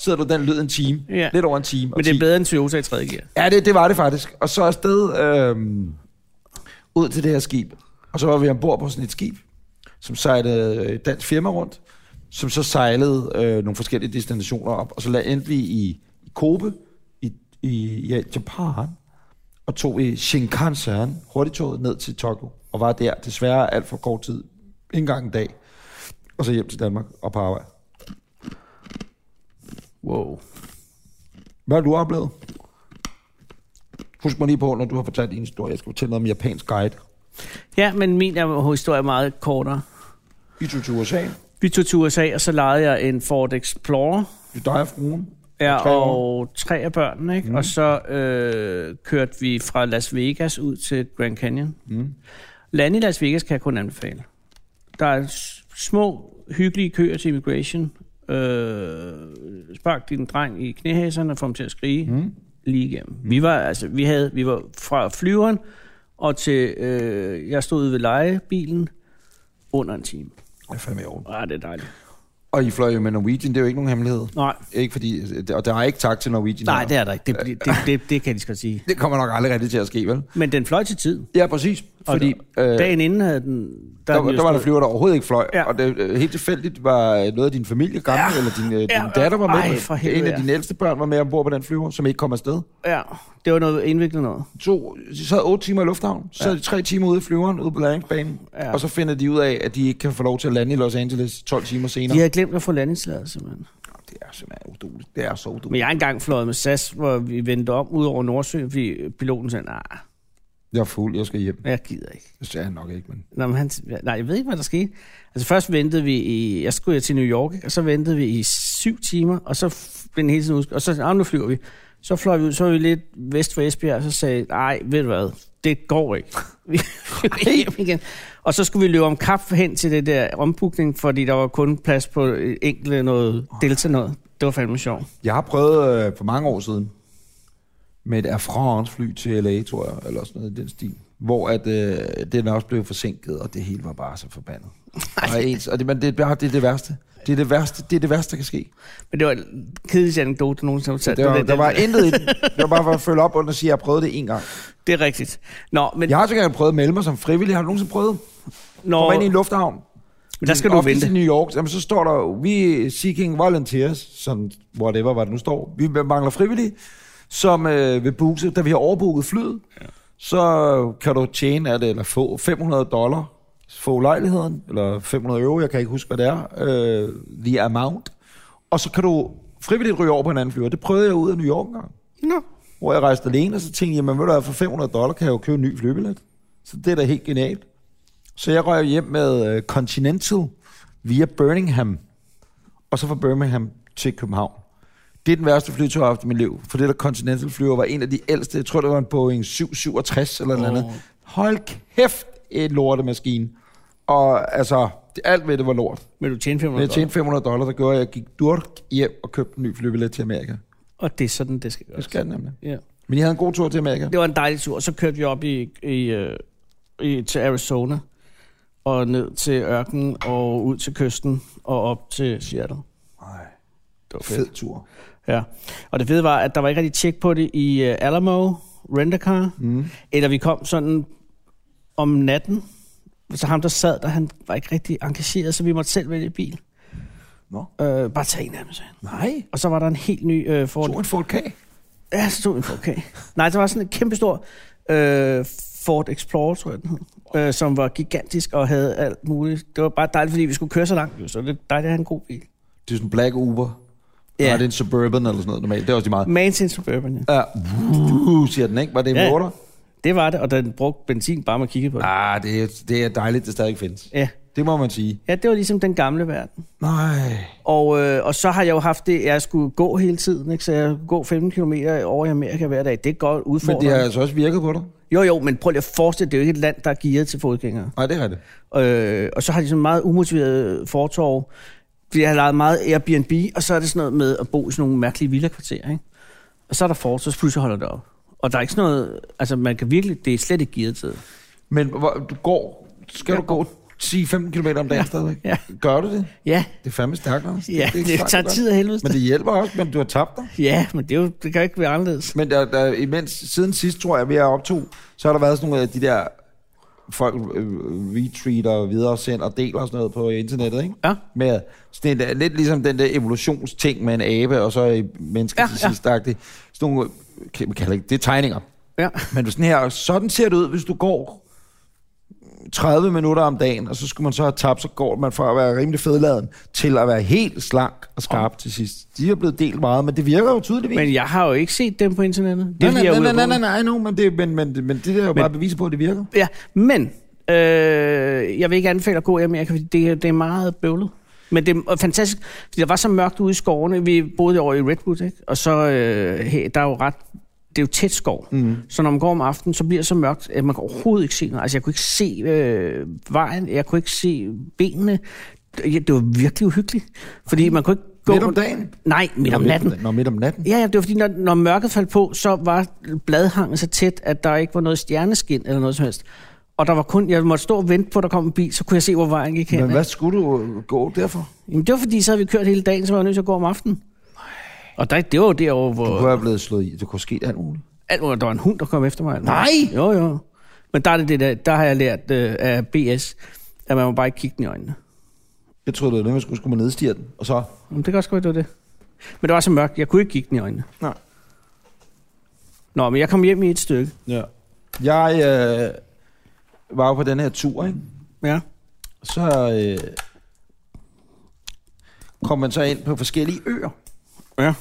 Sidder du den lyd en time.
Ja.
Lidt over en time. og
Men det er
10.
bedre end Toyota i 3. gear.
Ja, det, det var det faktisk. Og så afsted øhm, ud til det her skib. Og så var vi ombord på sådan et skib, som sejlede øh, et dansk firma rundt, som så sejlede øh, nogle forskellige destinationer op. Og så la- endte vi i, i Kobe, i, i ja, Japan, og tog i Shinkansen, hurtigtoget, ned til Tokyo. Og var der desværre alt for kort tid, ikke engang en dag. Og så hjem til Danmark og på arbejde.
Wow.
Hvad har du oplevet? Husk mig lige på, når du har fortalt din historie. Jeg skal fortælle noget om japansk guide.
Ja, men min er- historie er meget kortere.
I tog til USA.
Vi tog til USA, og så lejede jeg en Ford Explorer.
Det er dig og fruen.
Ja,
Og tre
og, tre af børnene, ikke? Mm. Og så øh, kørte vi fra Las Vegas ud til Grand Canyon. Mm. Land i Las Vegas kan jeg kun anbefale. Der er s- små, hyggelige køer til immigration. Øh, spark din dreng i knæhæserne og få ham til at skrige mm. lige igennem. Mm. Vi var altså, vi havde, vi var fra flyveren og til, øh, jeg stod ude ved lejebilen under en time.
Det er fandme i orden.
Ah, det er dejligt.
Og I fløj jo med Norwegian. Det er jo ikke nogen hemmelighed.
Nej,
Ikke fordi, øh, og der er ikke tak til Norwegian.
nej,
her.
det er der ikke. Det, det, det, det, det kan de skal sige.
det kommer nok aldrig rigtigt til at ske, vel?
Men den fløj til tiden.
Ja, præcis. Fordi
Og der,
øh,
øh,
der,
dagen inden havde den... Der, havde den
der,
jo
der var der
stået-
flyver, der overhovedet ikke fløj.
Ja.
Ja. Og det, øh, helt tilfældigt var øh, noget af din familie gammel, ja. eller din, øh, din
Ja.
ja. datter var med.
Ej, for helvede,
en af
ja.
dine ældste børn var med ombord på den flyver, som ikke kom afsted.
Ja, det var noget indviklet noget.
to, de sad otte timer i lufthavnen, så sad de tre timer ude i flyveren, ude på landingsbanen,
Ja.
ja. og så finder de ud af, at de ikke kan få lov til at lande i Los Angeles 12 timer senere.
De
Ja.
havde glemt at få landingsladelse, mand.
Det er simpelthen uduligt. Det er så uduligt.
Men jeg har engang fløjet med SAS, hvor vi vendte om ud over Nordsøen, fordi piloten sagde, nej,
Jeg er fuld, jeg skal hjem.
jeg gider ikke.
Det sagde han nok ikke, men...
Nå, men han, nej, jeg ved ikke, hvad der skete. Altså først ventede vi i, jeg skulle jeg til New York, ikke? og så ventede vi i syv timer, og så f- blev den hele tiden udskudt, og så sagde han, "Nå, nu flyver vi. Så fløj vi ud, så var vi lidt vest for Esbjerg, og så sagde nej, ved du hvad, det går ikke. Vi flyver hjem igen. Og så skulle vi løbe om kap hen til det der ombukning, fordi der var kun plads på øh, enkelte noget delta noget. Det var fandme sjovt.
Jeg har prøvet øh, for mange år siden med et Air France fly til LA, tror jeg, eller sådan noget i den stil. Hvor at, øh, den også blev forsinket, og det hele var bare så forbandet. Og, ens, og det, men det, er bare- det er det værste. Det er det værste, det er det værste, der kan ske.
Men det var en kedelig anekdote, nogensinde har fortalt.
Der,
Det
var,
den-
der var intet i den. Det var bare for at følge op under og sige, at jeg prøvede det en gang.
Det er rigtigt. Nå, men,
Jeg har også engang prøvet at melde mig som frivillig. Har du nogensinde prøvet? Kom
når,
ind i en lufthavn.
men der skal du
Oftest i
vente.
New York, jamen, så står der jo, vi er seeking volunteers, som whatever, hvad det nu står. Vi mangler frivillige, som øh, vil booke, da vi har overbooket flyet, ja. så kan du tjene af det, eller få 500 dollar for lejligheden, eller 500 euro, jeg kan ikke huske, hvad det er, øh, the amount. Og så kan du frivilligt ryge over på en anden flyver. Det prøvede jeg ud af New York engang,
Nå.
hvor jeg rejste alene, og så tænkte jeg, jamen ved du hvad, for 500 dollar kan jeg jo købe en ny flybillet. Så det er da helt genialt. Så jeg røg hjem med øh, Continental via Birmingham, og så fra Birmingham til København. Det er den værste flytur, jeg har haft i mit liv, for det der Continental flyver var en af de ældste. Jeg tror, det var en Boeing 767 eller noget
Åh.
andet. Hold kæft, et lortemaskine. Og altså, det- alt ved det var lort.
Men du tjener
Men
500
jeg
tjener.
tjente 500 dollar, der gjorde, at jeg gik durk hjem og købte en ny flybillet til Amerika.
Og det er sådan, det skal gøres.
Det skal jeg nemlig.
Ja.
Men jeg havde en god tur til Amerika.
Det var en dejlig tur. Så kørte vi op i, i, øh, i, til Arizona, og ned til ørkenen, og ud til kysten, og op til Seattle.
Nej,
Det var fedt.
fed tur.
Ja. Og det fede var, at der var ikke rigtig tjek på det i øh, Alamo, Rent-A-Car,
Mm.
eller vi kom sådan om natten. Så ham, der sad der, han var ikke rigtig engageret, så vi måtte selv vælge bil.
Nå.
Øh, bare tag en af dem, sagde han.
Nej,
Og så var der en helt ny øh, Ford
tog en Ford K.
Ja, så tog vi en 4K. Nej, der var sådan en kæmpe stor øh, Ford Explorer, tror jeg den hed, øh, som var gigantisk og havde alt muligt. Det var bare dejligt, fordi vi skulle køre så langt, jo, så det er dejligt at have en god bil.
Det er sådan en Black Uber. Ja. Nej, det er en Suburban eller sådan noget normalt. Det er også de meget.
Mansion Suburban, ja.
Ja, uh, siger den, ikke? Var det en
Ja.
ja.
Det var det, og den brugte benzin bare med at kigge på den.
Ah, det, er- det er dejligt, det stadig findes.
Ja.
Det må man sige.
ja, det var ligesom den gamle verden.
Nej.
Og, øh, og så har jeg jo haft det, jeg skulle gå hele tiden, ikke? så jeg kunne gå 15 km over i Amerika hver dag. Det er godt
Men
udfordrende.
det har altså også virket på dig.
Jo, jo, men prøv lige at forestille dig, det er jo ikke et land, der er gearet til fodgængere.
Nej, det er det.
Øh, og så har de sådan meget umotiveret fortorv. Fordi jeg har lejet meget Airbnb, og så er det sådan noget med at bo i sådan nogle mærkelige villakvarterer, ikke? Og så er der fortorv, så pludselig holder det op. Og der er ikke sådan noget... Altså, man kan virkelig... Det er slet ikke gearet til. det.
Men hvor, du går, skal du gå 10-15 km om dagen ja. stadigvæk?
ja.
Gør du det?
Ja,
Det er fandme stærkt, Anders.
ja det, det,
sejt,
tager
godt.
tid af helvede.
Men det hjælper også, men du har tabt dig.
Ja, men det, er jo, det kan jo ikke være anderledes.
Men der, der, imens, siden sidst, tror jeg, vi er optog, så har der været sådan nogle af de der folk øh, retweeter, videresender og deler og sådan noget på internettet, ikke?
Ja.
Med sådan en, der- lidt ligesom den der evolutionsting med en abe, og så et menneske
Ja,
ja, til
ja.
sidst. Ja. Sådan nogle, kan man kalder ikke, det er tegninger.
Ja.
Men du sådan her, og sådan ser det ud, hvis du går 30 minutter om dagen, og så skulle man så have tabt, så går man fra at være rimelig fedladen, til at være helt slank og skarp til sidst. De er blevet delt meget, men det virker jo tydeligvis.
Men jeg har jo ikke set dem på internettet. Det
Nej,
er, fordi
nej,
jeg er
nej,
ude
nej,
at
nej,
rode.
nej, nej, no, men, det, men, men, men det der er jo
Men-
bare bevis på, at det virker.
Ja, men øh, jeg vil ikke anbefale at gå i Amerika, fordi det, det er meget bøvlet. Men det er fantastisk, fordi der var så mørkt ude i skovene. Vi boede over i Redwood, ikke? og så øh, her- der er jo ret... Det er jo tæt skov, mm. så når man går om aftenen, så bliver det så mørkt, at man kan overhovedet ikke se noget. Altså, jeg kunne ikke se øh, vejen, jeg kunne ikke se benene. Det det var virkelig uhyggeligt, fordi man kunne ikke gå...
Midt om dagen?
Nej, midt om natten.
Nå, midt om natten.
Ja, ja, det var fordi, når, når mørket faldt på, så var bladhangen så tæt, at der ikke var noget stjerneskin eller noget som helst. Og der var kun, jeg måtte stå og vente på, at der kom en bil, så kunne jeg se, hvor vejen gik hen.
Men
ikke?
hvad skulle du øh, gå derfor?
Jamen, det var fordi, så havde vi kørt hele dagen, så var jeg nødt til at gå om aftenen. Og der, det var jo derovre,
Du
hvor
kunne have blevet slået i. Det kunne ske alt muligt.
alt, hvor der var en hund, der kom efter mig.
Nej!
Jo, jo. Men der, er det, det der, der har jeg lært øh, af BS, at man må bare ikke kigge den i øjnene.
Jeg troede, det var det, man skulle, skulle man nedstige den. Og så...
Jamen, det kan også godt være, det var det. Men det var så mørkt, jeg kunne ikke kigge den i øjnene.
Nej.
Nå, men jeg kom hjem i et stykke.
Ja. Jeg øh, var jo på den her tur, ikke?
Ja.
Så øh, kom man så ind på forskellige øer.
Ja.
Det er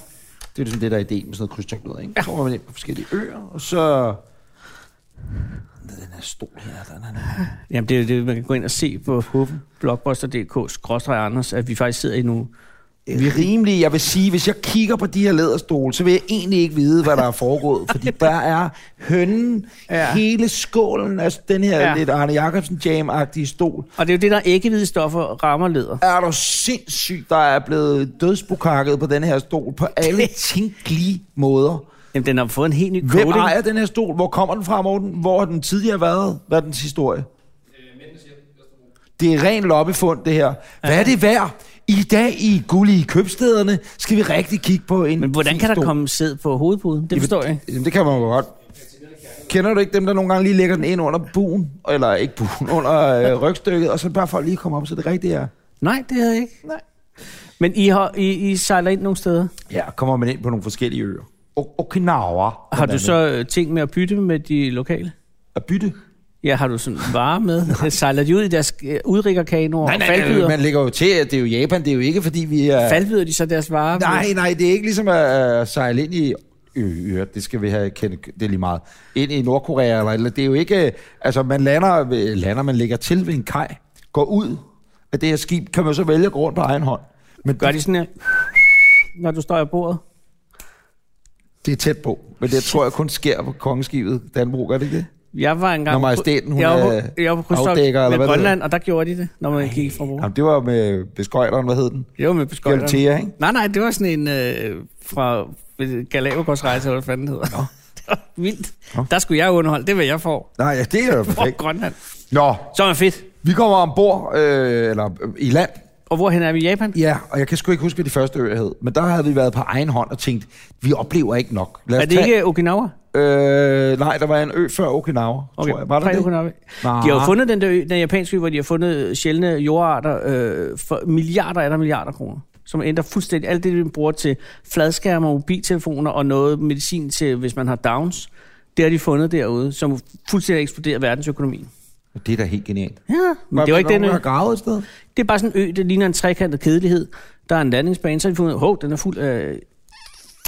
jo ligesom det, der er ideen med sådan noget krydstogt noget, ikke? Så kommer man ind på forskellige øer, og så... Den her stol her, den her...
Jamen, det er jo det, man kan gå ind og se på blogbuster.dk-anders, at vi faktisk sidder i nu.
rimelig, jeg vil sige, hvis jeg kigger på de her læderstole, så vil jeg egentlig ikke vide, hvad der er foregået, fordi der er hønnen,
Ja.
ja. hele skålen, altså den her
Ja.
ja. lidt Arne Jacobsen jam-agtige stol.
Og det er jo det, der æggehvide stoffer rammer leder.
Er du sindssyg, der er blevet dødsbukakket på den her stol på alle tænkelige måder.
Jamen, den har fået en helt ny coating.
Hvem ejer den her stol? Hvor kommer den fra, Morten? Hvor har den tidligere været? Hvad er dens historie? Det er ren loppefund, det her. Hvad er det værd? I dag i guld i købstederne skal vi rigtig kigge på en
Men hvordan
fin
kan der
stol.
komme sæd på hovedpuden? Det forstår jeg ikke.
Jamen, det kan man jo godt. Kender du ikke dem, der nogle gange lige lægger den ind under buen? Eller ikke buen, under øh, rygstykket, og så bare for at lige komme op, så det rigtige er.
Nej, det havde jeg ikke.
Nej.
Men I, har, I, I sejler ind nogle steder.
Ja, kommer man ind på nogle forskellige øer. O- Okinawa.
Har du
blandt
så
andet.
øh, ting med at bytte med de lokale?
At bytte?
Ja, har du sådan varer med? sejler de ud i deres øh, udriggerkanoer og faldbyder?
man lægger jo til, at det er jo Japan, det er jo ikke, fordi vi er...
Faldbyder de så deres varer?
Nej, nej, det er ikke ligesom at øh, sejle ind i øer, det skal vi have kendt, det er lige meget, ind i Nordkorea eller, et eller det er jo ikke, øh, altså man lander, ved- lander, man ligger til ved en kaj, går ud af det her skib, kan man så vælge at gå rundt på egen hånd. Men
Gør de sådan her, når du står i bordet?
det er tæt på, men det tror jeg kun sker på kongeskibet Danbro, gør det ikke det?
Jeg var engang...
Når
på-
majestæten, hun
jeg var
er
på, jeg var på
afdækker,
afdækker,
eller
med
hvad det
Grønland, og der gjorde de det, når man gik fra bordet.
Jamen, det var med beskøjteren, hvad hed den?
Det var med
Jamen,
beskøjterne.
Thea, ikke?
Nej, nej, det var sådan en øh, fra øh, Galapagos-rejse, eller hvad fanden det hedder. det var vildt.
Nå.
Der skulle jeg underholde, det var jeg får.
Nej, ja, det er jo
For
perfekt.
Grønland.
Nå,
Så er det fedt.
vi kommer ombord, øh, eller øh, i land,
Og hvorhen er vi i Japan?
Ja, og jeg kan sgu ikke huske, hvad de første øer hed. Men der havde vi været på egen hånd og tænkt, vi oplever ikke nok. Lad os
Er det ikke Okinawa?
tage... Øh, nej, der var en ø før Okinawa, okay. tror jeg. Var der
tre
det?
Okinawa.
Nej.
De har jo fundet den der ø, den japanske ø, hvor de har fundet sjældne jordarter øh, for milliarder eller milliarder kroner. Som ændrer fuldstændig alt det, vi bruger til fladskærme og mobiltelefoner og noget medicin til, hvis man har downs. Det har de fundet derude, som fuldstændig eksploderer verdensøkonomien.
Det er da helt genialt.
Ja, men det var ikke den ø.
ø. har gravet et sted.
Det er bare sådan en ø, det ligner en trekantet kedelighed. Der er en landingsbane, så har de fundet ud af, hov, den er fuld af...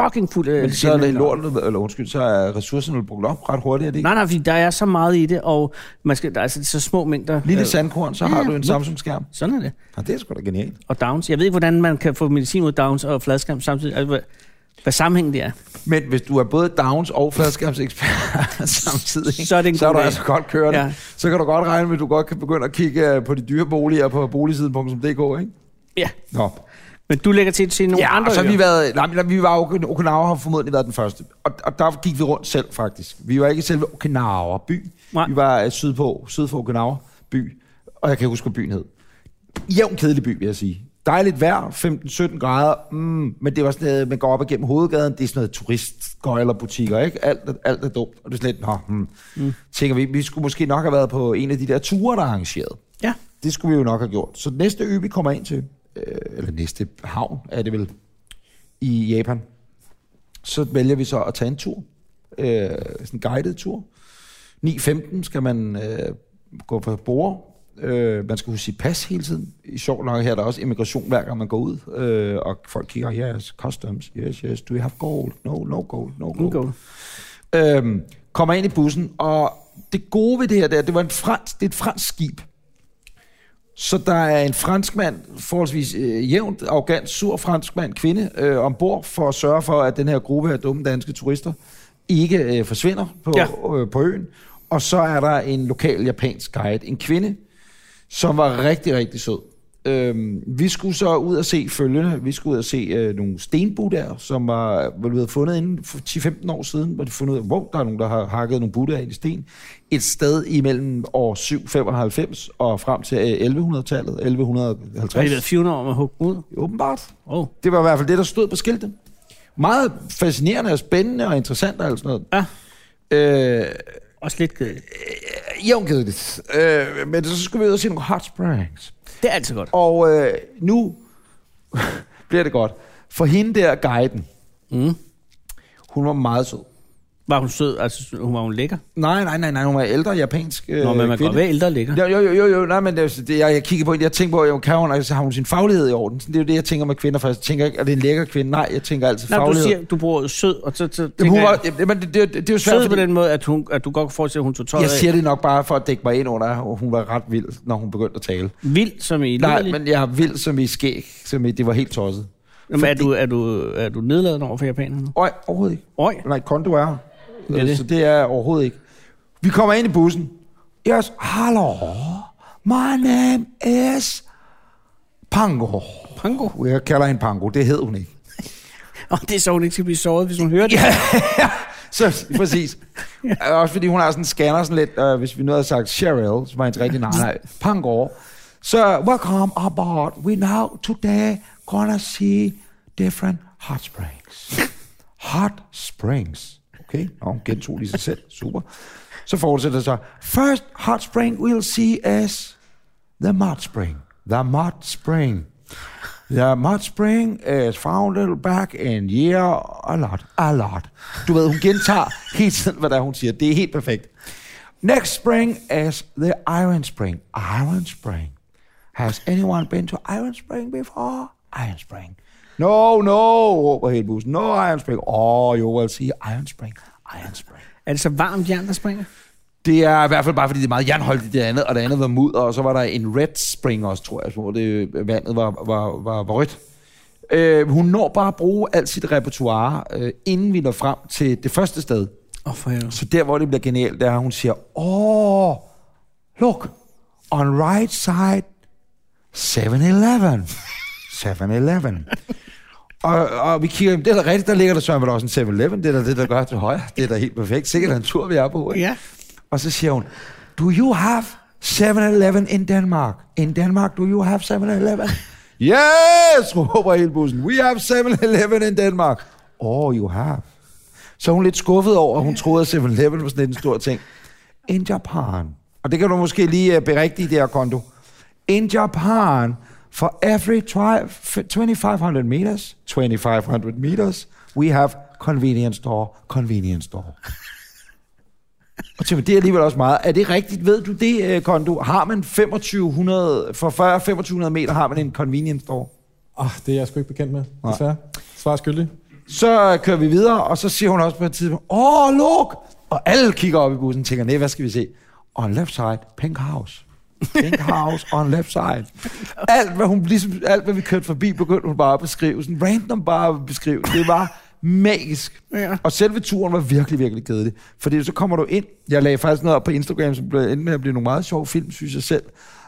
Fucking fuld af...
Men så er det lort, eller undskyld, så er ressourcerne blevet brugt op ret hurtigt, er det ikke?
Nej, nej, fordi der er så meget i det, og man skal, der er altså så små mængder...
Lille
Øh,
sandkorn, så har du en Samsung-skærm.
Sådan er det.
Ja, det er sgu da genialt.
Og downs. Jeg ved ikke, hvordan man kan få medicin mod downs og fladskærm samtidig. Altså, hvad, hvad sammenhængen det er.
Men hvis du er både Downs og fladskabsekspert samtidig,
Så er det en
så er
god
du
dag.
altså godt kørende.
Ja.
Ja. Så kan du godt regne med, at du godt kan begynde at kigge øh, på de dyre boliger på boligsiden.dk, ikke?
Ja.
Nå,
Men du lægger til til nogle
Ja,
andre
og så har
øer.
vi været... Nej, men vi var Ok- Okinawa har formodentlig været den første. Og, og der gik vi rundt selv, faktisk. Vi var ikke i selve Okinawa by.
Nej.
Nej. Vi var øh, sydpå, syd for Okinawa by. Og jeg kan ikke huske, hvad byen hed. Jævn kedelig by, vil jeg sige. Dejligt vejr, 15-17 grader, mm, men det var sådan noget, man går op igennem hovedgaden, det er sådan noget turistgøjlerbutikker, ikke? Alt, er- alt er dumt, og det er sådan lidt, nå, hmm. mm. tænker vi, vi skulle måske nok have været på en af de der ture, der er arrangeret.
Ja.
Det skulle vi jo nok have gjort. Så næste ø, vi kommer ind til, øh, eller næste havn er det vel, i Japan, så vælger vi så at tage en tur. Øh, sådan en guided tur. 9.15 skal man øh, gå på bord. Øh, man skal huske sit pas hele tiden. I sjov nok her er der også immigration, hver gang man går ud. Øh, og folk kigger, yes, customs, yes, yes, do you have gold? No, no gold, no gold.
Go.
Øhm, kommer ind i bussen, og det gode ved det her, det, er, det var en fransk, det er et fransk skib. Så der er en franskmand, forholdsvis øh, jævnt, arrogant, sur franskmand, kvinde, øh, ombord for at sørge for, at den her gruppe af dumme danske turister ikke øh, forsvinder på,
Ja.
ja. øh, på øen. Og så er der en lokal japansk guide, en kvinde, som var rigtig, rigtig sød. Øhm, vi skulle så ud og se følgende. Vi skulle ud og se øh, nogle stenbuddhaer, som var hvor vi havde fundet inden for 10-15 år siden, hvor de fundet ud af, wow, der er nogen, der har hakket nogle buddhaer ind i sten. Et sted imellem år 795 og frem til øh, 1100-tallet,
Har de været
1150.
400 år med at hugge dem ud?
Åbenbart.
Åh. Oh.
Det var i hvert fald det, der stod på skiltet. Meget fascinerende og spændende og interessant og alt sådan
Ja,
noget. Øh,
også lidt kedeligt.
jævnkedeligt. Øh, men så skulle vi ud og se nogle hot springs.
Det er altid godt.
Og øh, nu bliver det godt. For hende der, guiden,
Mm.
hun var meget sød.
Var hun sød? Altså, hun var hun lækker?
Nej, nej, nej, nej, hun var ældre japansk øh,
Nå, men man kan godt være ældre og lækker.
Jo, jo, jo, jo, jo, nej, men det, er- det, jeg, jeg kigger på, hende, jeg tænker på, jo, kan hun, altså, har hun sin faglighed i orden? Sådan, det er jo det, jeg tænker med kvinder først. Jeg tænker ikke, er det en lækker kvinde? Nej, jeg tænker altid
Nå, du
faglighed.
siger, du bruger ordet sød, og så, så
Jamen, hun
tænker
var, jamen, det, det, det, det er jo
sød
svært,
på
fordi,
den måde, at, hun, at du godt kan forestille, at hun tog tøjet
jeg siger
af.
det nok bare for at dække mig ind under, at hun var ret vild, når hun begyndte at tale.
Vild som i
Nej,
liderlig.
men jeg er vild som i skæg, som i, det var helt tosset.
Jamen, er, du, er, du, er du nedladende over for japanerne?
Øj, overhovedet ikke.
Øj,
Nej, kondo er.
er
Det
det.
Så det er jeg overhovedet ikke. Vi kommer ind i bussen. Yes, hallo. My name is Pango.
pango.
Jeg kalder hende Pango, det hed hun ikke.
Og det er så, hun ikke skal blive såret, hvis hun hører det.
Ja, så præcis. Også fordi hun har sådan en scanner sådan lidt, øh, hvis vi nu havde sagt Cheryl, så var hendes rigtig nej, nej, Pangor. Så welcome aboard. We now today gonna see different hot springs. Hot springs. Okay, nå, hun gentog lige sig selv. Super. Så fortsætter det så. First hot spring we'll see is the mud spring. The mud spring. The mud spring is founded back in year a lot, a lot. Du ved, hun gentager hele tiden, hvad der er, hun siger. Det er helt perfekt. Next spring is the iron spring. Iron spring. Has anyone been to Iron Spring before? Iron Spring. No, no, råber hele bussen. No Iron Spring. Oh, jo, jeg sige Iron Spring. Iron Spring.
Er det så varmt jern, der springer?
Det er i hvert fald bare, fordi det er meget jernholdigt, det andet, og det andet var mudder, og så var der en red spring også, tror jeg, hvor det, vandet var, var, var, var rødt. Øh, hun når bare at bruge alt sit repertoire, øh, inden vi når frem til det første sted.
Åh, oh, for helvede.
Så der, hvor det bliver genialt, det er, at hun siger, åh, look, on right side, 7-Eleven. 7-Eleven. Og, og vi kigger, det er da rigtigt, der ligger der sørme også en 7-Eleven, det er da det, der gør til højre. Det er da helt perfekt. Sikkert en tur, vi er på. Ikke?
Ja.
Og så siger hun, do you have 7-Eleven in Denmark? In Denmark, do you have 7-Eleven? yes, råber hele bussen. We have 7-Eleven in Denmark. Oh, you have. Så er hun lidt skuffet over, at hun troede, at 7-Eleven var sådan lidt en stor ting. In Japan. Og det kan du måske lige øh, berigtige i det her konto. In Japan, for every twi- f- 2500 meters, 2500 meters, we have convenience store, convenience store. Og Tim, det er alligevel også meget. Er det rigtigt? Ved du det, øh, Kondo? Har man 2500, for 40-2500 meter har man en convenience store?
Oh, det er jeg sgu ikke bekendt med, desværre. Svar er skyldig.
Så kører vi videre, og så siger hun også på et tidspunkt, åh, luk! Og alle kigger op i bussen og tænker, nej, hvad skal vi se? On left side, pink house. Pink house on left side. Alt, hvad, hun, ligesom, alt, hvad vi kørte forbi, begyndte hun bare at beskrive. Sådan random bare at beskrive. Det var magisk.
Ja.
Og selve turen var virkelig, virkelig kedelig. Fordi så kommer du ind, jeg lagde faktisk noget op på Instagram, som blev endte med at blive nogle meget sjove film, synes jeg selv,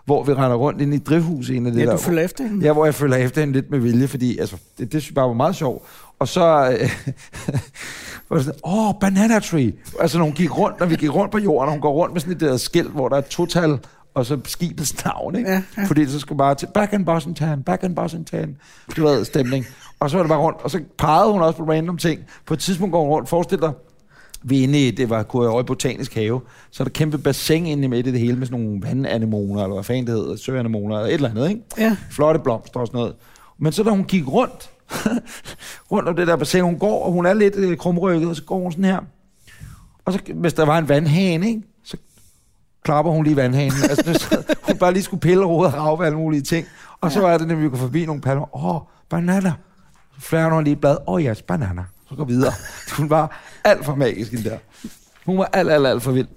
hvor vi render rundt ind i drivhuset. En af det
Ja,
der,
du følger efter hende.
Ja, hvor jeg følger efter hende lidt med vilje, fordi altså, det, det synes jeg bare var meget sjovt. Og så øh, var det sådan, åh, oh, banana tree. Altså, når hun gik rundt, når vi gik rundt på jorden, og hun går rundt med sådan et der skilt, hvor der er et total og så skibets navn, ikke?
Ja, ja.
Fordi så skulle bare til back in Boston, back in Boston, du ved, stemning. Og så var det bare rundt, og så pegede hun også på random ting. På et tidspunkt går hun rundt, forestil dig, vi er inde i, det var kunne jeg over i Botanisk Have, så er der et kæmpe bassin inde i midt i det hele med sådan nogle vandanemoner, eller hvad fanden det hedder, søanemoner, eller et eller andet, ikke?
Ja.
Flotte blomster og sådan noget. Men så da hun gik rundt, rundt om det der bassin, hun går, og hun er lidt øh, krumrykket, og så går hun sådan her. Og så, hvis der var en vandhane, ikke? så klapper hun lige vandhanen. altså, det- så, hun bare lige skulle pille rodet og rave alle mulige ting. Og så var det, nemlig, vi kunne forbi nogle palmer. Åh, oh, bananer. Så flager hun lige et blad. Åh, oh, yes, bananer. Så går vi videre. Hun var alt for magisk, den der. Hun var alt, alt, alt for vild.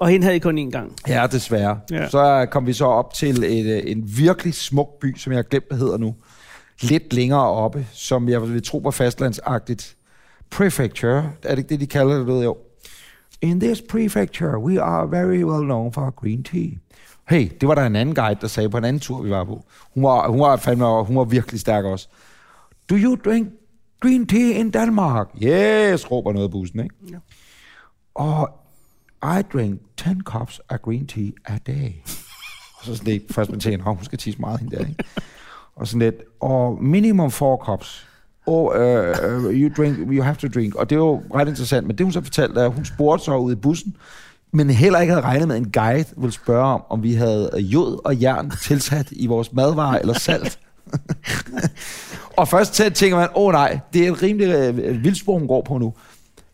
Og hende havde I kun én gang.
Ja, desværre. Ja.
Ja.
Så kom vi så op til et, øh, en virkelig smuk by, som jeg har glemt, hvad hedder nu. Lidt længere oppe, som jeg vil tro var fastlandsagtigt. Prefecture, er det ikke det, de kalder det? Du ved, jo. In this prefecture, we are very well known for green tea. Hey, det var der en anden guide, der sagde på en anden tur, vi var på. Hun var, hun var, fandme, hun var virkelig stærk også. Do you drink green tea in Denmark? Yes, råber noget af bussen, ikke? Ja. Og I drink 10 cups of green tea a day. og så sådan lidt, først man tænker, "Nå, hun skal tisse meget hende der, ikke? Og sådan lidt, og minimum 4 cups. Og uh, you drink, you have to drink. Og det var jo ret interessant, men det hun så fortalte, er, at hun spurgte så ude i bussen, men heller ikke havde regnet med, at en guide ville spørge om, om vi havde øh, jod og jern tilsat i vores madvarer eller salt. og først tæ- tænker man, åh oh, nej, det er et rimelig øh, vildspor, hun går på nu.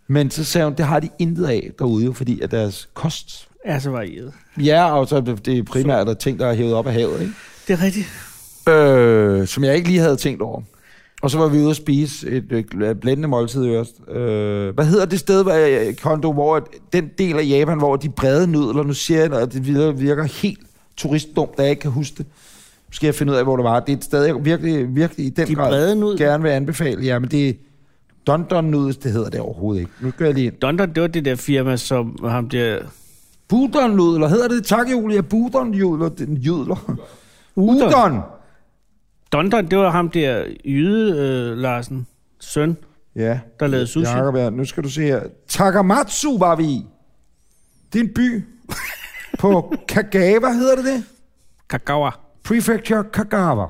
Men så sagde hun, det har de intet af derude, jo, fordi at deres kost...
Ja, så var I det.
Ja, og så er det, det er primært der ting, der er hævet op af havet, ikke?
Det er rigtigt.
Øh, som jeg ikke lige havde tænkt over. Og så var vi ude at spise et øh, blændende måltid i Ørst. Øh, hvad hedder det sted, hvor, øh, Kondo, hvor at den del af Japan, hvor de brede nudler, nu siger jeg, at det virker- virker helt turistdumt, da jeg ikke kan huske det. Nu skal jeg finde ud af, hvor det var. Det er et sted, jeg virkelig, virkelig i den
De
grad
brede nudler?
gerne vil anbefale. Ja, men det er Don Don Nudels, det hedder det overhovedet ikke. Nu gør jeg lige ind.
Dondon, det var det der firma, som ham der...
Budonjudler, hedder det takjudler? Ja, budonjudler, den judler.
Udon.
Udon.
Dondon, det var ham der Jyde øh, Larsen, søn,
Ja,
der lavede sushi.
Jacob, ja. nu skal du se her. Takamatsu var vi i. Det er en by på Kagawa, hedder det det?
Kagawa.
Prefecture Kagawa.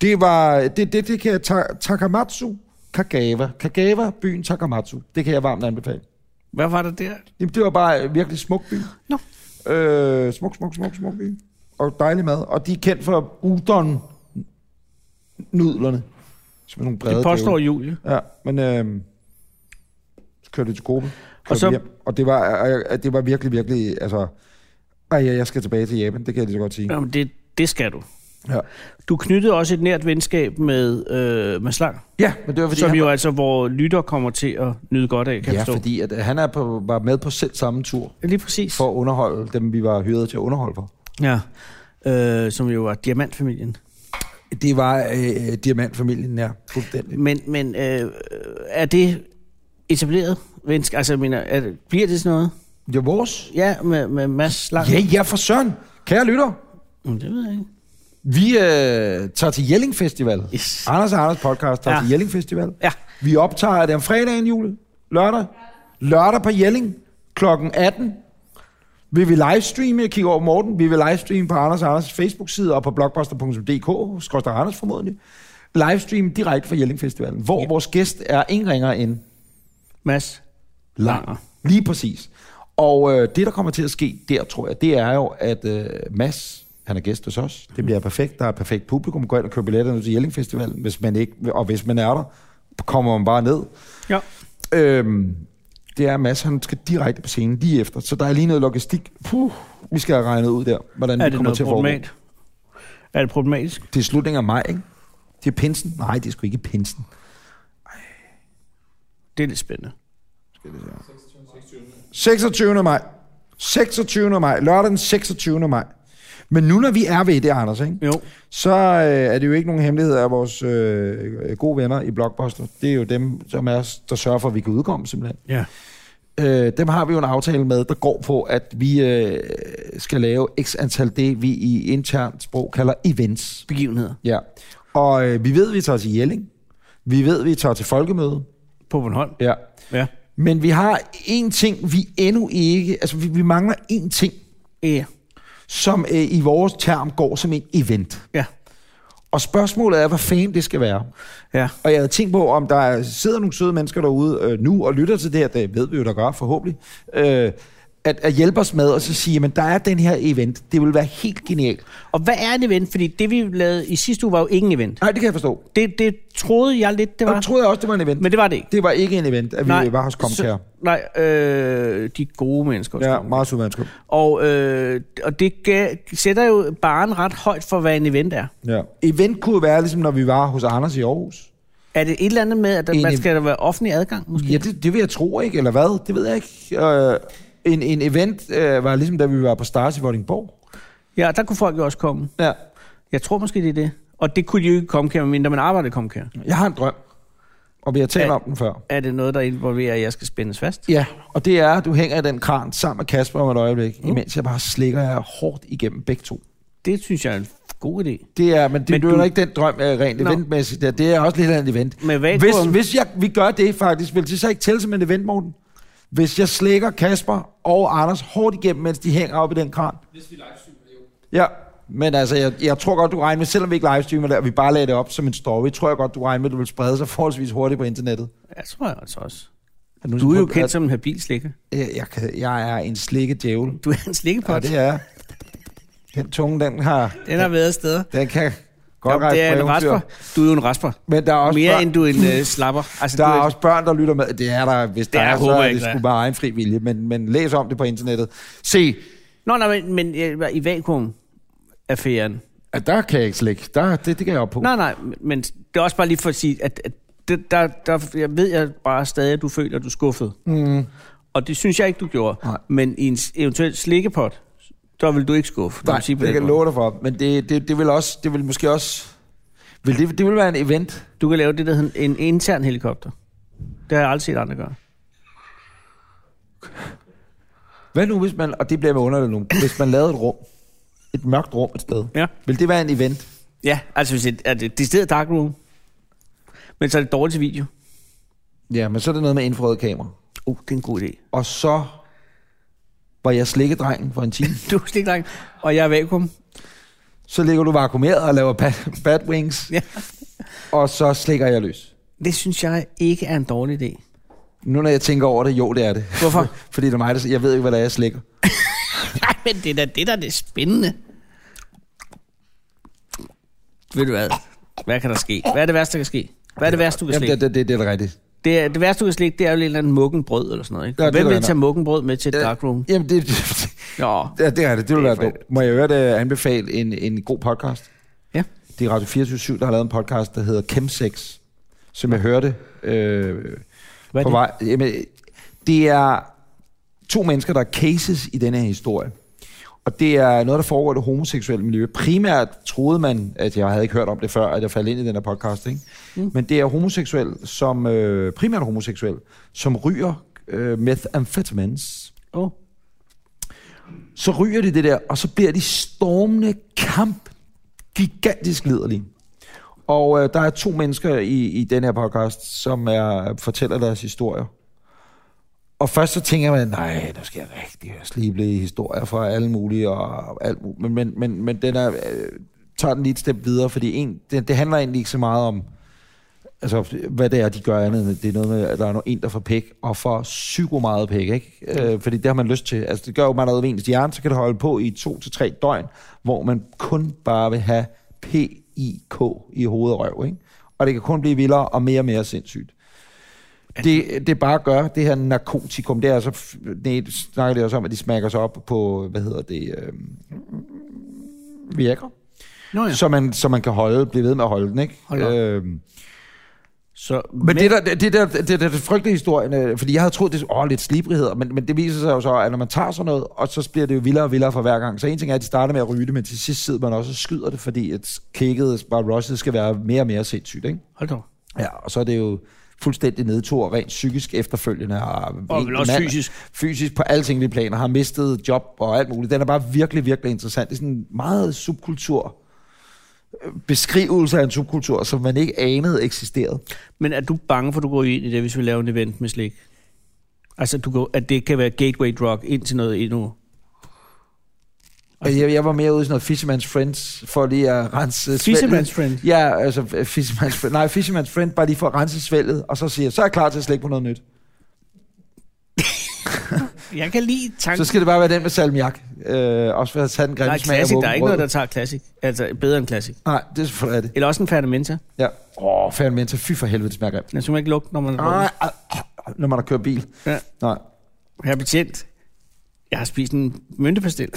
Det var, det, det, det kan jeg, ta, Takamatsu, Kagawa. Kagawa, byen Takamatsu. Det kan jeg varmt anbefale.
Hvad var det der?
Jamen, det var bare en virkelig smuk by.
Nå.
Øh, smuk, smuk, smuk, smuk by. Og dejlig mad. Og de er kendt for udon-nudlerne. Som er nogle brede
Det påstår
dævle.
Julie.
Ja, men øh, så kørte vi til gruppen.
Og
Og,
så-
så... hjem, og det, var, øh, øh, det var virkelig, virkelig, altså... Ej, ja, jeg skal tilbage til Japan, det kan jeg lige så godt sige. Ja.
Jamen, det, det skal du.
Ja.
Du knyttede også et nært venskab med, øh, med Slang,
ja, men det var fordi,
som
han,
jo altså, hvor lytter kommer til at nyde godt af, kan
ja,
jeg forstå.
fordi at, øh, han er på, var med på selv samme tur
Lige præcis.
for at underholde dem, vi var hyret til at underholde for.
Ja. Øh, som jo var diamantfamilien.
Det var øh, diamantfamilien, ja. Fuldstændig.
Men, men øh, er det etableret venskab? Altså, jeg mener, er, det- bliver det sådan noget?
Det var vores.
Ja, med, med Mads Lang?
Ja, ja, for søren. Kære lytter,
Mm, Det ved jeg ikke.
vi øh, tager til Jelling Festival.
Yes.
Anders og Anders podcast tager
Ja.
ja. til Jelling Festival.
Ja.
Vi optager er det om fredagen, Jule. Lørdag. Lørdag på Jelling. Klokken 18. Vil vi livestreame? Jeg kigger over på Morten. Vi vil livestreame på Anders og Anders Facebook-side og på blogbuster.dk. Skorster Anders formodentlig. Livestream direkte fra Jelling Festivalen, hvor ja. vores gæst er ingen ringer end
Mads Langer.
Langer. Lige præcis. Og øh, det, der kommer til at ske der, tror jeg, det er jo, at øh, Mads, han er gæst hos os. Det bliver perfekt. Der er et perfekt publikum. Gå ind og køb billetter til Jelling Festivalen, hvis man ikke, og hvis man er der, kommer man bare ned.
Ja.
Øhm, det er Mads, han skal direkte på scenen lige efter. Så der er lige noget logistik. Puh, vi skal have regnet ud der, hvordan
Er
vi
det
kommer
noget
til at foregå.
problematisk? Er det problematisk?
Det er slutningen af maj, ikke? Det er pinsen? Nej, det er sgu ikke pinsen.
Det er lidt spændende.
26. maj. 26. maj. Lørdag den 26. maj. Men nu når vi er ved det, Anders, ikke?
Jo.
så øh, er det jo ikke nogen hemmelighed af vores øh, gode venner i Blockbuster. Det er jo dem, som er, os, der sørger for, at vi kan udkomme simpelthen.
Ja.
Øh, dem har vi jo en aftale med, der går på, at vi øh, skal lave x antal det, vi i internt sprog kalder events.
Begivenheder
Ja. Og øh, vi ved, vi tager til Jelling. Vi ved, vi tager til folkemøde.
på Bornholm.
Ja.
Ja.
Men vi har én ting, vi endnu ikke... Altså, vi, vi mangler én ting,
Ja.
som øh, i vores term går som en event.
Ja.
Og spørgsmålet er, hvad fanden det skal være.
Ja.
Og jeg havde tænkt på, om der sidder nogle søde mennesker derude øh, nu og lytter til det her, det ved vi jo, der gør forhåbentlig, øh, at, at hjælpe os med og så sige, at der er den her event. Det vil være helt genialt.
Og hvad er en event? Fordi det, vi lavede i sidste uge, var jo ingen event.
Nej, det kan jeg forstå.
Det, det troede jeg lidt, det
Og
var.
det troede jeg også, det var en event. Men
Men det var det ikke.
det var ikke en event, at vi nej, var hos Comcare.
Nej, øh, de gode mennesker. hos
Ja,
Comcare.
meget søde mennesker.
Og, øh, og det gav, sætter jo baren ret højt for, hvad en event er.
Ja. Event kunne jo være, ligesom når vi var hos Anders i Aarhus.
Er det et eller andet med, at der,
En
man
ev-
skal der være offentlig adgang, måske?
Ja, det, det vil jeg tro, ikke? Eller hvad? Det ved jeg ikke. Øh, en, en event øh, var ligesom, da vi var på Stars i Vordingborg.
Ja, der kunne folk jo også komme.
Ja.
Jeg tror måske, det er det. Og det kunne de jo ikke komme her, mindre man arbejder i Comcare.
Jeg har en drøm, og vi har talt
Ja.
ja. om den før.
Er det noget, der involverer, at jeg skal spændes fast?
Ja, og det er, at du hænger i den kran sammen med Kasper om et øjeblik, mm. imens jeg bare slikker jer hårdt igennem begge to.
Det synes jeg er en god idé.
Det er, men det
Men
men
du-
du... er ikke den drøm øh, rent
Nå.
eventmæssigt. Der. Det er også lidt af en event.
Med vakuum.
hvis hvis jeg, vi gør det faktisk, vil det så ikke tælle som en event, Morten? Hvis jeg slikker Kasper og Anders hårdt igennem, mens de hænger op i den kran. Hvis vi livestreamer, jo. Ja, men altså, jeg, jeg tror godt, du regner med, selvom vi ikke livestreamer det, og vi bare lagde det op som en story, tror jeg godt, du regner med, at det vil sprede sig forholdsvis hurtigt på internettet.
Jeg tror jeg altså også.
Har nogen
Du er jo
prøvet-
kendt som en habil slikker.
Jeg, Øh, jeg, kan- jeg er en slikket djævel.
Du er en
Ja,
slikkepot.
det er jeg. Den tunge, den har...
Den har været afsted.
Den kan godt
Jamen,
rejse
det er
på
en
eventyr.
rasper. Du er jo en rasper.
Men der er også,
Mere
børn,
end du er en øh, slapper. Altså,
der
du
er
et-
også børn, der lytter med. Det er der, hvis
Det
der
er-
er, så
håber jeg
er
ikke,
det
der er.
sgu bare egen fri vilje. Men, men læs om det på internettet. Se,
Nå, nej, men, men øh, i vakuum-affæren.
at der kan jeg ikke slække. Der, det, det kan jeg op på.
Nej, nej, men det er også bare lige for at sige, at, at det, der, der, jeg ved jeg bare stadig, at du føler, at du er skuffet. Mm. Og det synes jeg ikke, du gjorde.
Nej.
Men i en s- eventuel slikkepot, der vil du ikke skuffe.
Nej, det kan jeg love dig for. Men det, det, det vil også... Det vil måske også... Vil det, det vil være en event.
Du kan lave det, der hedder en intern helikopter. Det har jeg aldrig set andre gøre.
Hvad nu, hvis man... Og det bliver med underligt nu. Hvis man lavede et rum. Et mørkt rum et sted.
Ja,
Vil det være en event?
ja altså hvis det er det decideret dark room, men så er det dårligt til video.
Ja, men så er det noget med infrarøde kamera.
Uh, det er en god idé.
Og så var jeg slikkedrengen for en time.
Du er stikdreng, og jeg er vakuum.
Så ligger du vakuumeret og laver bad, bad wings.
Ja.
Og så slikker jeg løs.
Det synes jeg ikke er en dårlig idé.
Nu når jeg tænker over det, jo det er det.
Hvorfor?
Fordi det er mig, der jeg ved ikke, hvad der er, jeg slikker.
Nej, men det er da det, der er det spændende. Ved du hvad? Hvad kan der ske? Hvad er det værste, der kan ske? Hvad er det værste, du kan
Jamen,
slikke?
det,
Det,
det, det, det er da rigtigt.
er, det værste, du kan slikke, det er jo en eller anden muggenbrød eller sådan noget, ikke?
Ja,
Ja,
det er
Hvem
der
vil
nok.
tage muggenbrød med til et
Ja.
darkroom?
Jamen, det,
Ja.
ja, det er det. Det vil være
for-
dumt. Må jeg høre det anbefale en, en god podcast?
Ja.
Det er Radio 24 der har lavet en podcast, der hedder Chemsex, som jeg hørte øh,
Hvad er
på
det?
vej. Jamen, det er to mennesker, der er cases i denne her historie. Og det er noget, der foregår i det homoseksuelle miljø. Primært troede man, at jeg havde ikke hørt om det før, at jeg faldt ind i den her podcast. Ikke? Mm. Men det er homoseksuel, som, øh, primært homoseksuel, som ryger øh, methamphetamines
Åh, oh,
så ryger de det der, og så bliver de stormende kamp gigantisk liderlige. Og øh, der er to mennesker i, i den her podcast, som er, fortæller deres historier. Og først så tænker man, nej, nu skal jeg rigtig høre slibelige historier fra alle mulige, og alt muligt. Men, men, men, men den er, øh, tager den lige et step videre, fordi en, det, det handler egentlig ikke så meget om, altså, hvad det er, de gør andet. end, Det er noget med, at der er no- en, der får pæk, og får psyko meget pæk, ikke? Øh, fordi det har man lyst til. Altså, det gør jo, man noget ved ens hjerne, så kan det holde på i to til tre døgn, hvor man kun bare vil have P-I-K i hovedet og røv, ikke? Og det kan kun blive vildere og mere og mere sindssygt.
Altså-
Det, det bare gør, det her narkotikum, det er altså, f- det snakker de også om, at de smakker sig op på, hvad hedder det, øh, virker,
nå ja.
så man, så man kan holde, blive ved med at holde den, ikke?
Hold op.
Øhm,
Så,
men, men det der, det der, det der, det frygtelige historien, øh, fordi jeg havde troet, det var lidt slibrigheder, men, men det viser sig jo så, at når man tager sådan noget, og så bliver det jo vildere og vildere for hver gang. Så en ting er, at de starter med at ryge det, men til sidst sidder man også og skyder det, fordi at kækket, bare rushet, skal være mere og mere sindssygt, ikke?
Hold da. op.
Ja, og så er det jo fuldstændig nedtur, rent psykisk efterfølgende. Og,
Og vel også
mand-
fysisk.
Fysisk på alle tænkelige planer, har mistet job og alt muligt. Den er bare virkelig, virkelig interessant. Det er sådan en meget subkultur øh, beskrivelse af en subkultur, som man ikke anede eksisterede.
Men er du bange for, at du går ind i det, hvis vi laver en event med slik? Altså, du går, at det kan være gateway drug ind til noget endnu.
Altså, jeg, jeg var mere ude i sådan noget Fisherman's Friends, for lige at rense svælget.
Fisherman's friend.
Ja, altså øh, Fisherman's Friend. Nej, Fisherman's Friend, bare lige for at rense svælget, og så siger jeg, så er jeg klar til at slække på noget nyt.
Jeg kan lide tanken.
Så skal det bare være den med salmiak. Øh, også for at tage den grimme
Nej,
smag af
classic, der er ikke
våbenbrød.
noget, der tager classic. Altså, bedre end classic.
Nej, det er selvfølgelig rigtigt.
Eller også en Fernamenta.
Ja. Åh, oh, fanden menta. Fy for helvede, det smager grimt.
Den skal man ikke lugte, når man
Ej,
er
ej, ej, Når man har kørt bil.
Ja.
Nej.
Her betjent. Jeg har spist en myntepastil.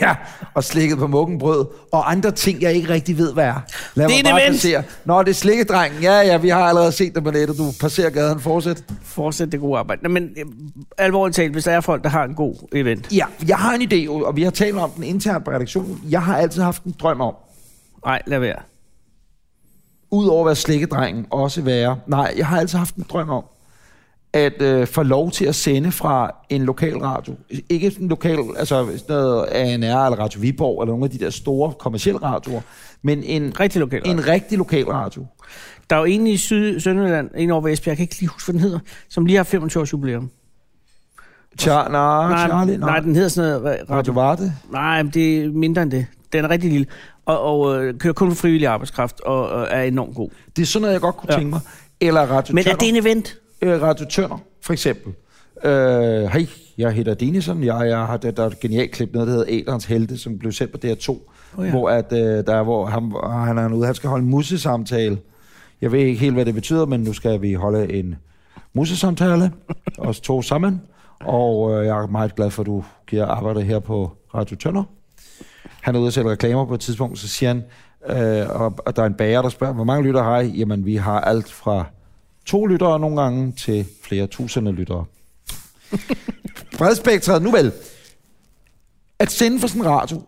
Ja, og slikket på muggenbrød, og andre ting, jeg ikke rigtig ved, hvad er. Lad
Det
mig
er en
bare
event.
passere. Nå, det er slikkedrengen. Ja, ja, vi har allerede set dig på nettet. Du passerer gaden. Fortsæt.
Fortsæt det gode arbejde. Nå, men øh, alvorligt talt, hvis der er folk, der har en god event.
Ja, jeg har en idé, og vi har talt om den internt på redaktionen. Jeg har altid haft en drøm om,
Nej, lad være.
udover at være slikkedrengen, også være... Nej, jeg har altid haft en drøm om, at øh, få lov til at sende fra en lokal radio. Ikke sådan en lokal, altså sådan noget ANR eller Radio Viborg, eller nogle af de der store kommersielle radioer, men en,
Rigtig lokal.
en rigtig lokal radio.
Der er jo en i Syd Sønderjylland, en over ved Esbjerg, jeg kan ikke lige huske, hvad den hedder, som lige har 25 års jubilæum.
Tja, nej,
Ah,
Charlie,
nej, den hedder sådan noget. hvad-
Radio Varte.
Nej, men det er mindre end det. Den er rigtig lille. Og, og øh, kører kun for frivillig arbejdskraft og, og er enormt god.
Det er sådan noget, jeg godt kunne
Ja.
ja. tænke mig. Eller Radio
Men er
Tønder.
det en event?
øh, Radio Tønder, for eksempel. Øh, Hej, jeg hedder Dinesen. Jeg, jeg har, der, der er et genialt klip, noget, der hedder Æderens Helte, som blev sendt på DR2,
Åh
oh,
ja.
ja. hvor, at, øh, der er, hvor ham, og han er ude, han skal holde en mussesamtale. Jeg ved ikke helt, hvad det betyder, men nu skal vi holde en mussesamtale, os to sammen. Og øh, jeg er meget glad for, at du giver arbejde her på Radio Tønder. Han er ude og sælge reklamer på et tidspunkt, så siger han, øh, og, og der er en bager, der spørger, hvor mange lytter har I? Jamen, vi har alt fra to lyttere nogle gange til flere tusinde lyttere. Bredspektret, nu vel. At sende for sådan en radio,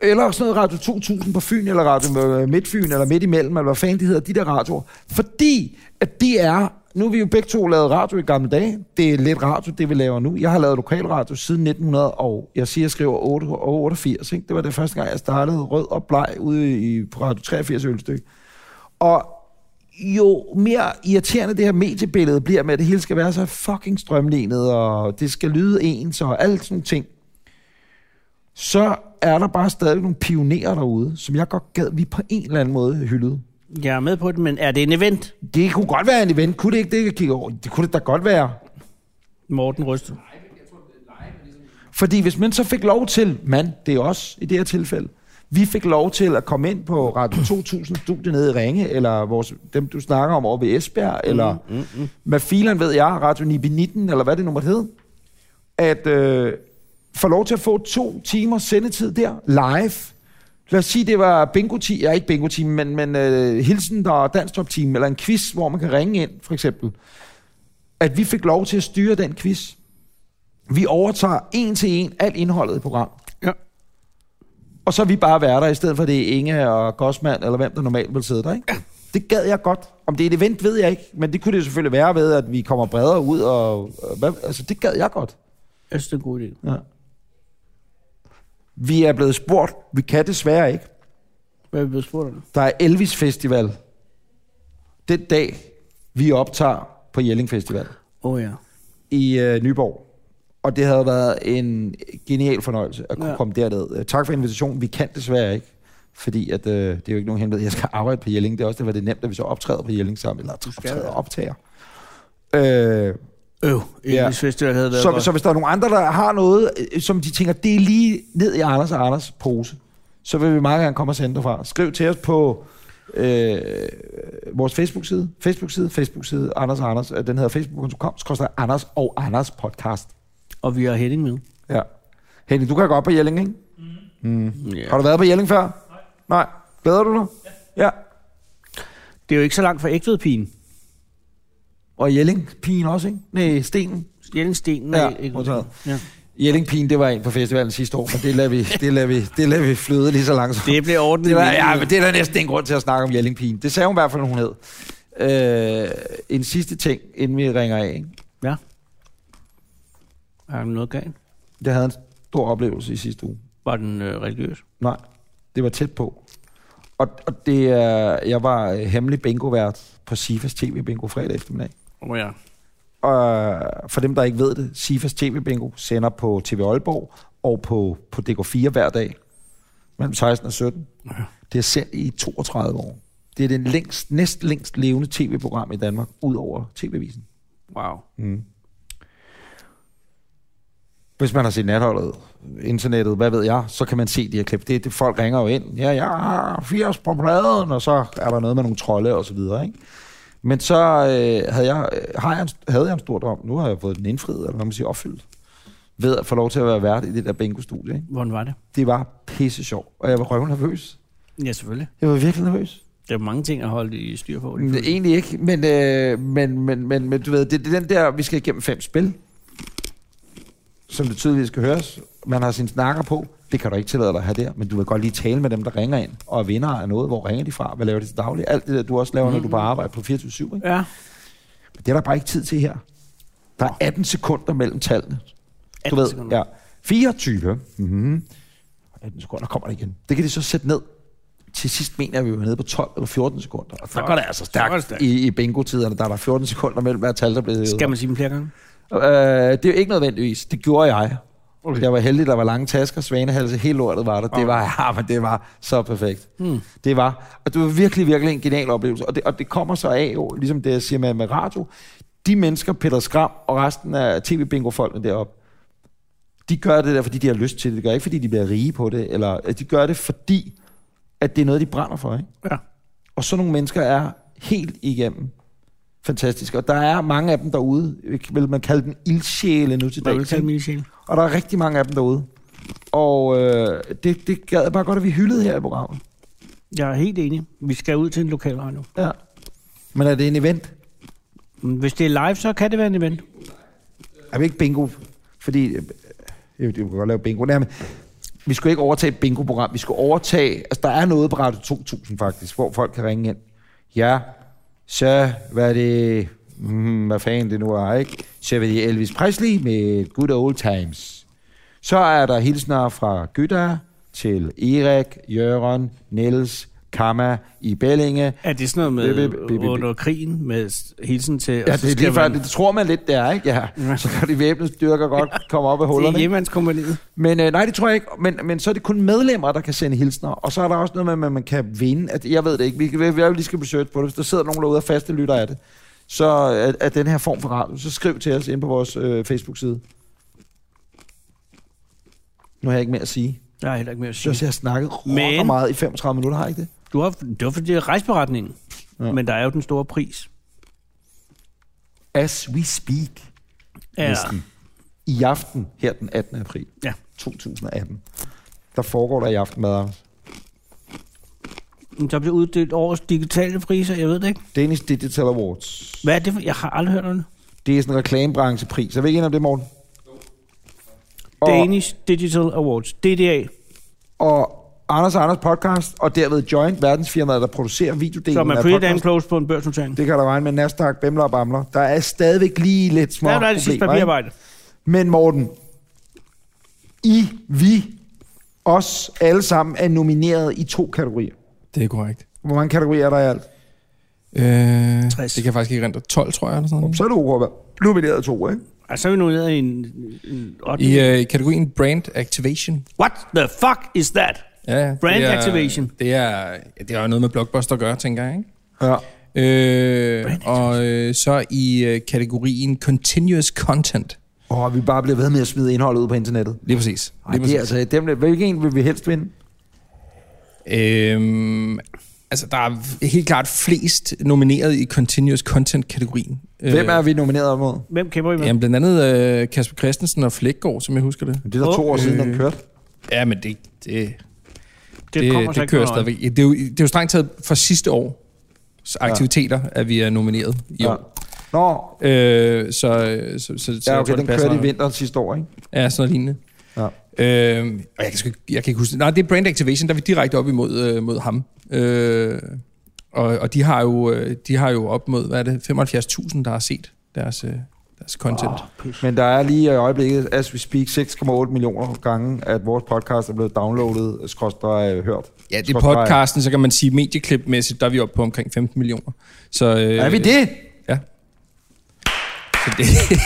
eller sådan noget Radio 2000 på Fyn, eller Radio øh, Midtfyn, eller Midt imellem, eller hvad fanden de hedder, de der radioer. Fordi at de er, nu har vi jo begge to lavet radio i gamle dage, det er lidt radio, det vi laver nu. Jeg har lavet lokalradio siden 1900, og jeg siger, jeg skriver 8, og 88, ikke? det var det første gang, jeg startede rød og bleg ude i, på Radio 83 i Ølstykke. Og jo mere irriterende det her mediebillede bliver med, at det hele skal være så fucking strømlignet, og det skal lyde ens, og alt sådan nogle ting, så er der bare stadig nogle pionerer derude, som jeg godt gad, vi på en eller anden måde hyldede.
Jeg er med på det, men er det en event,
Det kunne godt være en event, kunne det ikke det, jeg kigger over? Det kunne det da godt være.
Morten Ryster?
Fordi hvis man så fik lov til, mand, det er os i det her tilfælde, vi fik lov til at komme ind på Radio 2000 studie nede i Ringe, eller vores, dem du snakker om over ved Esbjerg, eller mm, mm, mm. hvad fileren ved jeg, Radio 919, eller hvad det nu måtte hedde, at øh, få lov til at få to timer sendetid der, live. Lad os sige, det var bingo team, ja ikke bingo team, men, men øh, hilsen der er dansk top team, eller en quiz, hvor man kan ringe ind, for eksempel. At vi fik lov til at styre den quiz. Vi overtager en til en alt indholdet i programmet.
Ja.
Og så er vi bare værter, i stedet for at det er Inge og Gosman, eller hvem der normalt vil sidde der, ikke? Ja. Det gad jeg godt. Om det er et event, ved jeg ikke, men det kunne det selvfølgelig være ved, at vi kommer bredere ud, og, og hvad, altså det gad jeg godt.
Jeg synes, det er en god idé.
Vi er blevet spurgt, vi kan desværre ikke.
Hvad er vi blevet spurgt om?
Der er Elvis Festival den dag, vi optager på Jelling Festival
Åh oh, ja.
i øh, Nyborg. Og det havde været en genial fornøjelse at kunne ja.
Ja.
komme derned. Øh, Tak for invitationen. Vi kan desværre ikke, fordi at, øh, det er jo ikke nogen hemmelighed. Jeg skal arbejde på Jelling. Det er også det, var det nemt, at vi så optræder på Jelling sammen. Eller
skal
optræder
det.
og optager. Øh,
Øv,
Ja.
Elvis ja. Festival havde været
så,
godt.
så hvis der er nogen andre, der har noget, øh, som de tænker, det er lige ned i Anders og Anders pose, så vil vi meget gerne komme og sende det fra. Skriv til os på øh, vores Facebook-side, Facebook-side, Facebook-side, Anders og Anders. Øh, Den hedder facebook.com, skrøster Anders og Anders podcast.
Og vi har Henning med.
Ja. Henning, du kan gå op på Jelling, ikke?
Ja.
Har du været på Jelling før? Nej. Nej. Glæder du dig? Ja. ja.
Det er jo ikke så langt fra Ægvedpigen.
Og Jelling-pigen også, ikke? Nej, Stenen.
Jellingstenen
Ja,
er Ægvedpigen.
modtaget.
Ja.
Jelling-pigen, det var en på festivalen sidste år, men det lader vi, det lader vi, det lader vi flyde lige så langsomt.
Det blev ordnet.
Det er, der-
i-
ja, men det er der næsten en grund til at snakke om Jellingpigen. Det sagde hun i hvert fald, hun hed. Øh, en sidste ting, inden vi ringer af. Ikke?
ja. Er der noget galt?
Jeg havde en stor oplevelse i sidste uge.
Var den øh, religiøs?
Nej, det var tæt på. Og, og det er, jeg var øh, hemmelig bingo-vært på Sifas TV Bingo fredag eftermiddag.
Åh oh, ja.
Og for dem, der ikke ved det, Sifas TV Bingo sender på TV Aalborg og på, på DK4 hver dag mellem 16 og 17.
Ja.
Det er sendt i 32 år. Det er den længst, næst længst levende tv-program i Danmark, ud over tv-visen.
Wow.
Mm. Hvis man har set natholdet, internettet, hvad ved jeg, så kan man se de her klip. Det, er det folk ringer jo ind. Ja, jeg har 80 på pladen, og så er der noget med nogle trolde og så videre, ikke? Men så øh, havde, jeg, øh, har jeg en, havde jeg en stor drøm. Nu har jeg fået den indfriet, eller hvad man siger, opfyldt. Ved at få lov til at være vært i det der bingo-studie, ikke?
Hvordan var det?
Det var pisse sjovt, og jeg var røven nervøs.
Ja, selvfølgelig.
Jeg var virkelig nervøs.
Der er mange ting at holde i styr på.
Mm, Egentlig ikke, men, øh, men, men, men, men du ved, det, det er den der, vi skal igennem fem spil, som det tydeligvis skal høres. Man har sin snakker på, det kan du ikke tillade dig at have der, men du vil godt lige tale med dem, der ringer ind, og er vinder af noget, hvor ringer de fra, hvad laver de til daglig, alt det der, du også laver, når du bare arbejder på 24-7, ikke? Men
Ja.
det er der bare ikke tid til her. Der er 18 sekunder mellem tallene. Du ved, ja. 24. Mm-hmm. 18 sekunder kommer det igen. Det kan de så sætte ned. Til sidst mener jeg, at vi var nede på 12 eller 14 sekunder. Og der går det altså
Så går det
stærkt
stærkt.
i, i bingo-tiderne. Der er der 14 sekunder mellem hver tal, der bliver hævet.
Skal man sige dem flere gange?
Øh, det er jo ikke nødvendigvis. Det gjorde jeg. Okay. Jeg var heldig, der var lange tasker, svanehalse, hele lortet var der. Det var, ja, men det var så perfekt. Hmm. Det var, og det var virkelig, virkelig en genial oplevelse. Og det, og det kommer så af, jo, ligesom det, jeg siger med, med radio. De mennesker, Peter Skram og resten af tv-bingo-folkene deroppe, de gør det der, fordi de har lyst til det. De gør ikke, fordi de bliver rige på det. Eller, øh, de gør det, fordi at det er noget, de brænder for. Ikke?
Ja.
Og sådan nogle mennesker er helt igennem fantastiske. Og der er mange af dem derude, vil man kalde dem ildsjæle nu til
Hvad vil du
dags.
kalde
ikke?
mine sjæl?
Og der er rigtig mange af dem derude. Og øh, det, det gad jeg bare godt, at vi hyldede her i programmet.
Jeg er helt enig. Vi skal ud til en lokal radio.
Ja. Men er det en event?
Men Hvis det er live, så kan det være en event.
Er vi ikke bingo? Fordi, øh, øh, vi kan godt lave bingo. Nej, men vi skulle ikke overtage et bingo-program. Vi skulle overtage, altså der er noget på Radio 2000 faktisk, hvor folk kan ringe ind. Ja, så hvad er det, hmm, hvad fanden det nu er, ikke? Så er det Elvis Presley med Good Old Times. Så er der hilsner fra Gytter til Erik, Jørgen, Niels, Kamma i Bellinge.
Er det sådan noget med
Bip, bip, bip, bip, bip.
under krigen med s- hilsen til...
Ja, det er lige før, det tror man lidt, det er, ikke? Ja.
Ja.
Så kan de væbnede styrker godt komme op af
Det er
hullerne.
hjemmandskompaniet.
Men øh, nej, det tror jeg ikke. Men, men så er det kun medlemmer, der kan sende hilsner. Og så er der også noget med, at man- man kan vinde. At, jeg ved det ikke. Vi, vi, vi lige skal research på det. Hvis der sidder nogen derude og faste lytter af det, så er, er den her form for radio, så skriv til os ind på vores øh, Facebook-side. Nu har jeg ikke mere at sige.
Der er heller ikke mere at
Jeg synes,
sige.
jeg har snakket
Men-
men... meget i 35 minutter, har jeg ikke det?
Du har, det var fordi det er rejseberetningen.
Ja.
Ja. Men der er jo den store pris.
As we speak.
Ja.
I aften, her den 18. april
Ja.
2018, der foregår der i aften med Anders.
Der bliver uddelt årets digitale priser, jeg ved det ikke.
Danish Digital Awards.
Hvad er det for? Jeg har aldrig hørt om det.
Det er sådan en reklamebranchepris. Jeg ved ikke ind om det, Morten. Og,
Danish Digital Awards, DDA.
og Anders og Anders podcast, og derved Joint, verdensfirmaet, der producerer videodelen
Så er man
af
pretty damn
podcasten.
close på en børsnotering. Det
Det kan der regne med. Nasdaq, Bimler og Bamler. Der er stadigvæk lige lidt små
er jo der er det sidste
problemer, ikke?
papirarbejde.
Men Morten, I, vi, os alle sammen er nomineret i to kategorier.
Det er korrekt.
Hvor mange kategorier er der i alt?
Øh,
60.
Det kan jeg faktisk ikke rente. 12, tror jeg, eller sådan noget.
Så er du okay. nomineret to, ikke?
Og så er vi nu nede i en... en otte.
I øh, i kategorien Brand Activation.
What the fuck is that?
Ja, ja.
Brand
det er,
Activation.
Det er, ja, det er noget med Blockbuster at gøre, tænker jeg, ikke?
Ja.
Øh, og øh, så i øh, kategorien Continuous Content.
Og vi bare bliver ved med at smide indholdet ud på internettet.
Lige præcis.
Ej,
Lige
det er
præcis.
altså, dem, der- hvilken en vil vi helst vinde?
Øhm, altså, der er helt klart flest nomineret i Continuous Content-kategorien. Øh,
Hvem er vi nomineret mod?
Hvem kæmper I med?
Jamen, blandt andet øh, Kasper Christensen og Flækgaard, som jeg husker det.
Det er der
Øh.
to år siden, den kørte.
Ja, men det, det,
det,
det,
kommer
det,
så
det
ikke
kører
noget
stadigvæk. Ja, Det er, jo, det er jo strengt taget for sidste års aktiviteter, at vi er nomineret i
Ja.
år.
Nå,
Øh, så, så, så, så
ja,
jeg
okay,
tror, det
den
passer.
kørte i vinteren sidste år, ikke?
Ja, sådan noget lignende.
Ja.
Øhm, og jeg kan, sgu ikke- jeg kan ikke huske det. Nej, det er Brand Activation, der er vi direkte op imod øh, mod ham. Øh, og, og de, har jo, øh, de har jo op mod, hvad er det, 75.000, der har set deres, øh, deres content. Oh.
Men der er lige i øjeblikket, as we speak, 6,8 millioner gange, at vores podcast er blevet downloadet, skråstrej øh, hørt.
Ja, det er
Skråstreg.
podcasten, så kan man sige medieklipmæssigt, der er vi oppe på omkring 15 millioner. Så, øh,
Er vi det?
Ja. Så det,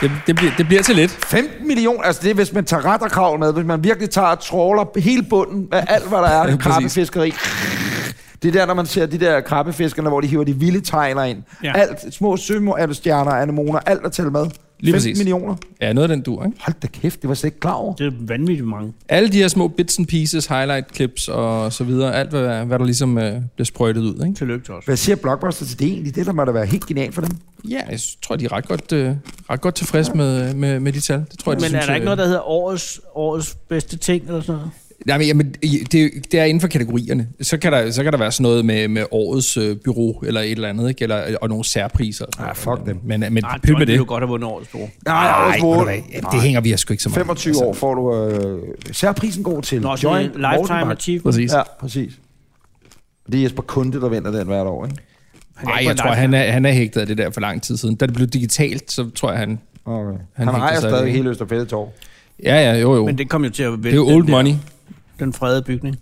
det, det, bliver, det bliver til lidt.
15 millioner? Altså det er, hvis man tager ret og krav med, hvis man virkelig tager og trawler hele bunden af alt, hvad der er,
Ja, præcis.
krabbefiskeri. Det er der, når man ser de der krabbefiskerne, hvor de hiver de vilde tegner ind. Ja.
Ja.
Alt, små sømorstjerner, anemoner, alt at tælle med. 15
præcis.
millioner.
Ja, noget af den dur, ikke?
Hold da kæft, det var jeg slet ikke klar over.
Det er vanvittigt mange.
Alle de her små bits and pieces, highlight clips og så videre, alt hvad, hvad der ligesom øh, bliver sprøjtet ud, ikke?
Tillykke til os.
Hvad siger Blockbuster til det egentlig? Det der må da være helt genialt for dem.
Ja, jeg tror, de er ret godt, øh, ret godt tilfredse med, med, med de tal. Det tror jeg, de
Men
synes,
er der ikke
øh,
noget, der hedder årets, årets bedste ting eller sådan noget?
Nej, men jamen, i- det, det er inden for kategorierne. Så kan der, så kan der være sådan noget med, med årets øh, byrå eller et eller andet, ikke? Eller, og nogle særpriser.
Ah, fuck dem.
Men, men
Nej, det
pyt med
ville
det.
jo godt have vundet årets store.
Nej,
Ej, ved du hvad, Altså- det hænger vi her sgu ikke så meget.
25 år får du... Øh, særprisen går til
Nå, så er det lifetime
Mortenbach.
achievement.
Præcis.
Ja, præcis. Det er Jesper Kunde, der vinder den hvert år, ikke?
er
Nej,
ikke
jeg
på
tror,
live.
han er, han er hægtet af det der for lang tid siden. Da det blev digitalt, så tror jeg, han...
Okay. øh, Han,
Han
han
hængte
ejer
sig
stadig
i-
hele Østerfælletår.
Ja, ja, jo, jo.
Men
Det,
det kom jo til at vælge
det er jo old
den,
money.
Der, den fredede bygning.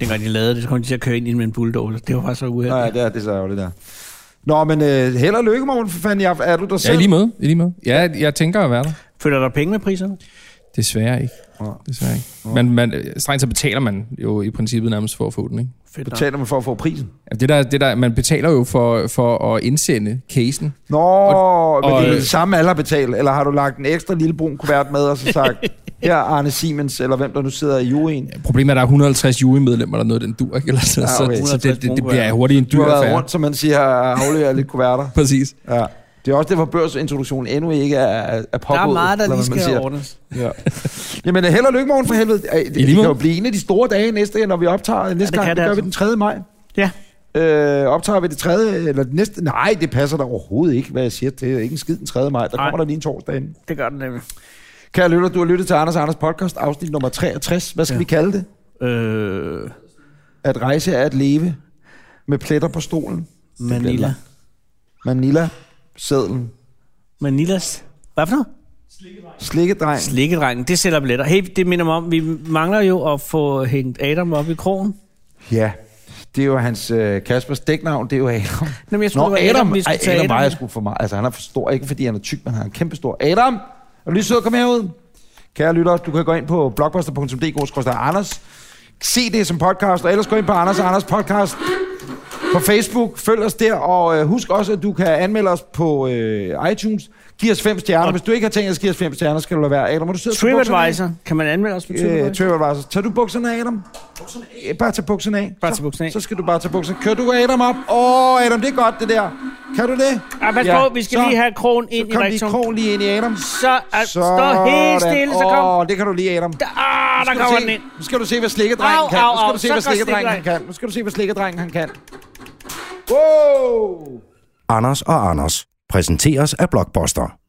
Dengang de lavede det, så kom de til at køre ind i den med en bulldozer. Det var faktisk så
Ja, ja,
uheldigt.
det er, det er så ærgerligt der. Nå, men øh, held og lykke, morgen, for fanden. Jeg, er du der
Ja, i
selv?
lige med. I lige med. Ja, jeg tænker at være der.
Følger der penge med priserne?
Desværre ikke.
Nej.
Desværre ikke. Man, man, strengt så betaler man jo i princippet nærmest for at få den, ikke?
Fedt nok.
Betaler man for at få prisen?
Jamen, Det der, det der, man betaler jo for, for at indsende casen.
Nå, og,
Og-
men
og,
det er
øh,
det samme alle har betalt, eller har du lagt en ekstra lille brun kuvert med, og så sagt, her er Arne Siemens, eller hvem der nu sidder i juryen.
Problemet er, at der er 150 jurymedlemmer, eller noget, den dur, ikke? Eller sådan,
Ja,
ja,
okay.
okay. så, så det, det, det, bliver
150
hurtigt en
Du
dyr
har været
affære.
rundt, som man siger, og afleverer lidt kuverter.
Præcis.
Ja. Det er også derfor, børsintroduktionen endnu ikke er, er er pågået.
Der er meget, der
eller
lige
hvad man siger.
skal ordnes.
Ja. Jamen, held og lykke morgen for helvede. Ej, Det,
lige
det kan
måde.
jo blive en af de store dage næste, når vi optager. Næste
det
ja, gang, det
kan det
gør vi
altså.
den 3. maj.
Ja,
Øh, optager vi det 3. eller det næste? Nej, det passer da overhovedet ikke, hvad jeg siger. Det er ikke en skid den 3. maj. Der
Nej.
kommer der lige en torsdag ind.
det gør den nemlig.
Kære lytter, du har lyttet til Anders og Anders podcast, afsnit nummer 63. Hvad skal ja.
Ja.
vi kalde det?
Øh,
At rejse er at leve med pletter på stolen.
Manila.
Manila, sædlen.
Manilas. Hvad for noget?
Slikkedreng.
Slikkedrengen, det sælger billetter. Hey, det minder mig om, vi mangler jo at få hængt Adam op i krogen.
Ja, det er jo hans øh, Kaspers dæknavn, det er jo Adam.
Nå, men jeg
Nå,
troede, det var Adam,
Adam,
vi skulle
Ej,
tage
Adam,
Adam.
var jeg sgu for meget. Altså, han er for stor, ikke fordi han er tyk, men han er kæmpestor. Adam, er du lige sød at komme herud? Kære lytter, du kan gå ind på blogbuster.dk-anders. Se det som podcast, og ellers gå ind på Anders og Anders podcast på Facebook. Følg os der, og øh, husk også, at du kan anmelde os på øh, iTunes. Giv os fem stjerner. Hvis du ikke har tænkt dig at give os fem stjerner, skal du lade være. Adam, må du sidde og tage bukserne af?
TripAdvisor, kan man anmelde os på
Øh,
TripAdvisor?
TripAdvisor. Tager du bukserne af, Adam? Bukserne af? Bare tage bukserne af.
Bare
Så-
tage bukserne af.
Så skal du bare tage bukserne. Kører du Adam op? Åh, oh, Adam, det er godt, det der. Kan du det?
Ah, pas på, vi skal
så-
lige have krogen ind
så
i
kom lige
rektum.
krog lige ind i Adam.
Så ah, stå helt stille, så kom.
Åh, oh, det kan du lige, Adam.
Der, ah, der
Nu skal du
kommer
se-
den ind.
Nu skal du se, hvad slikkedrengen
Au,
kan.
au,
Nu skal
au,
du se,
så
hvad
går
slikkedrengen han
slikkedrengen.
kan. Nu skal du se, hvad slikkedrengen han kan. Wow!
Anders og Anders præsenteres af Blockbuster.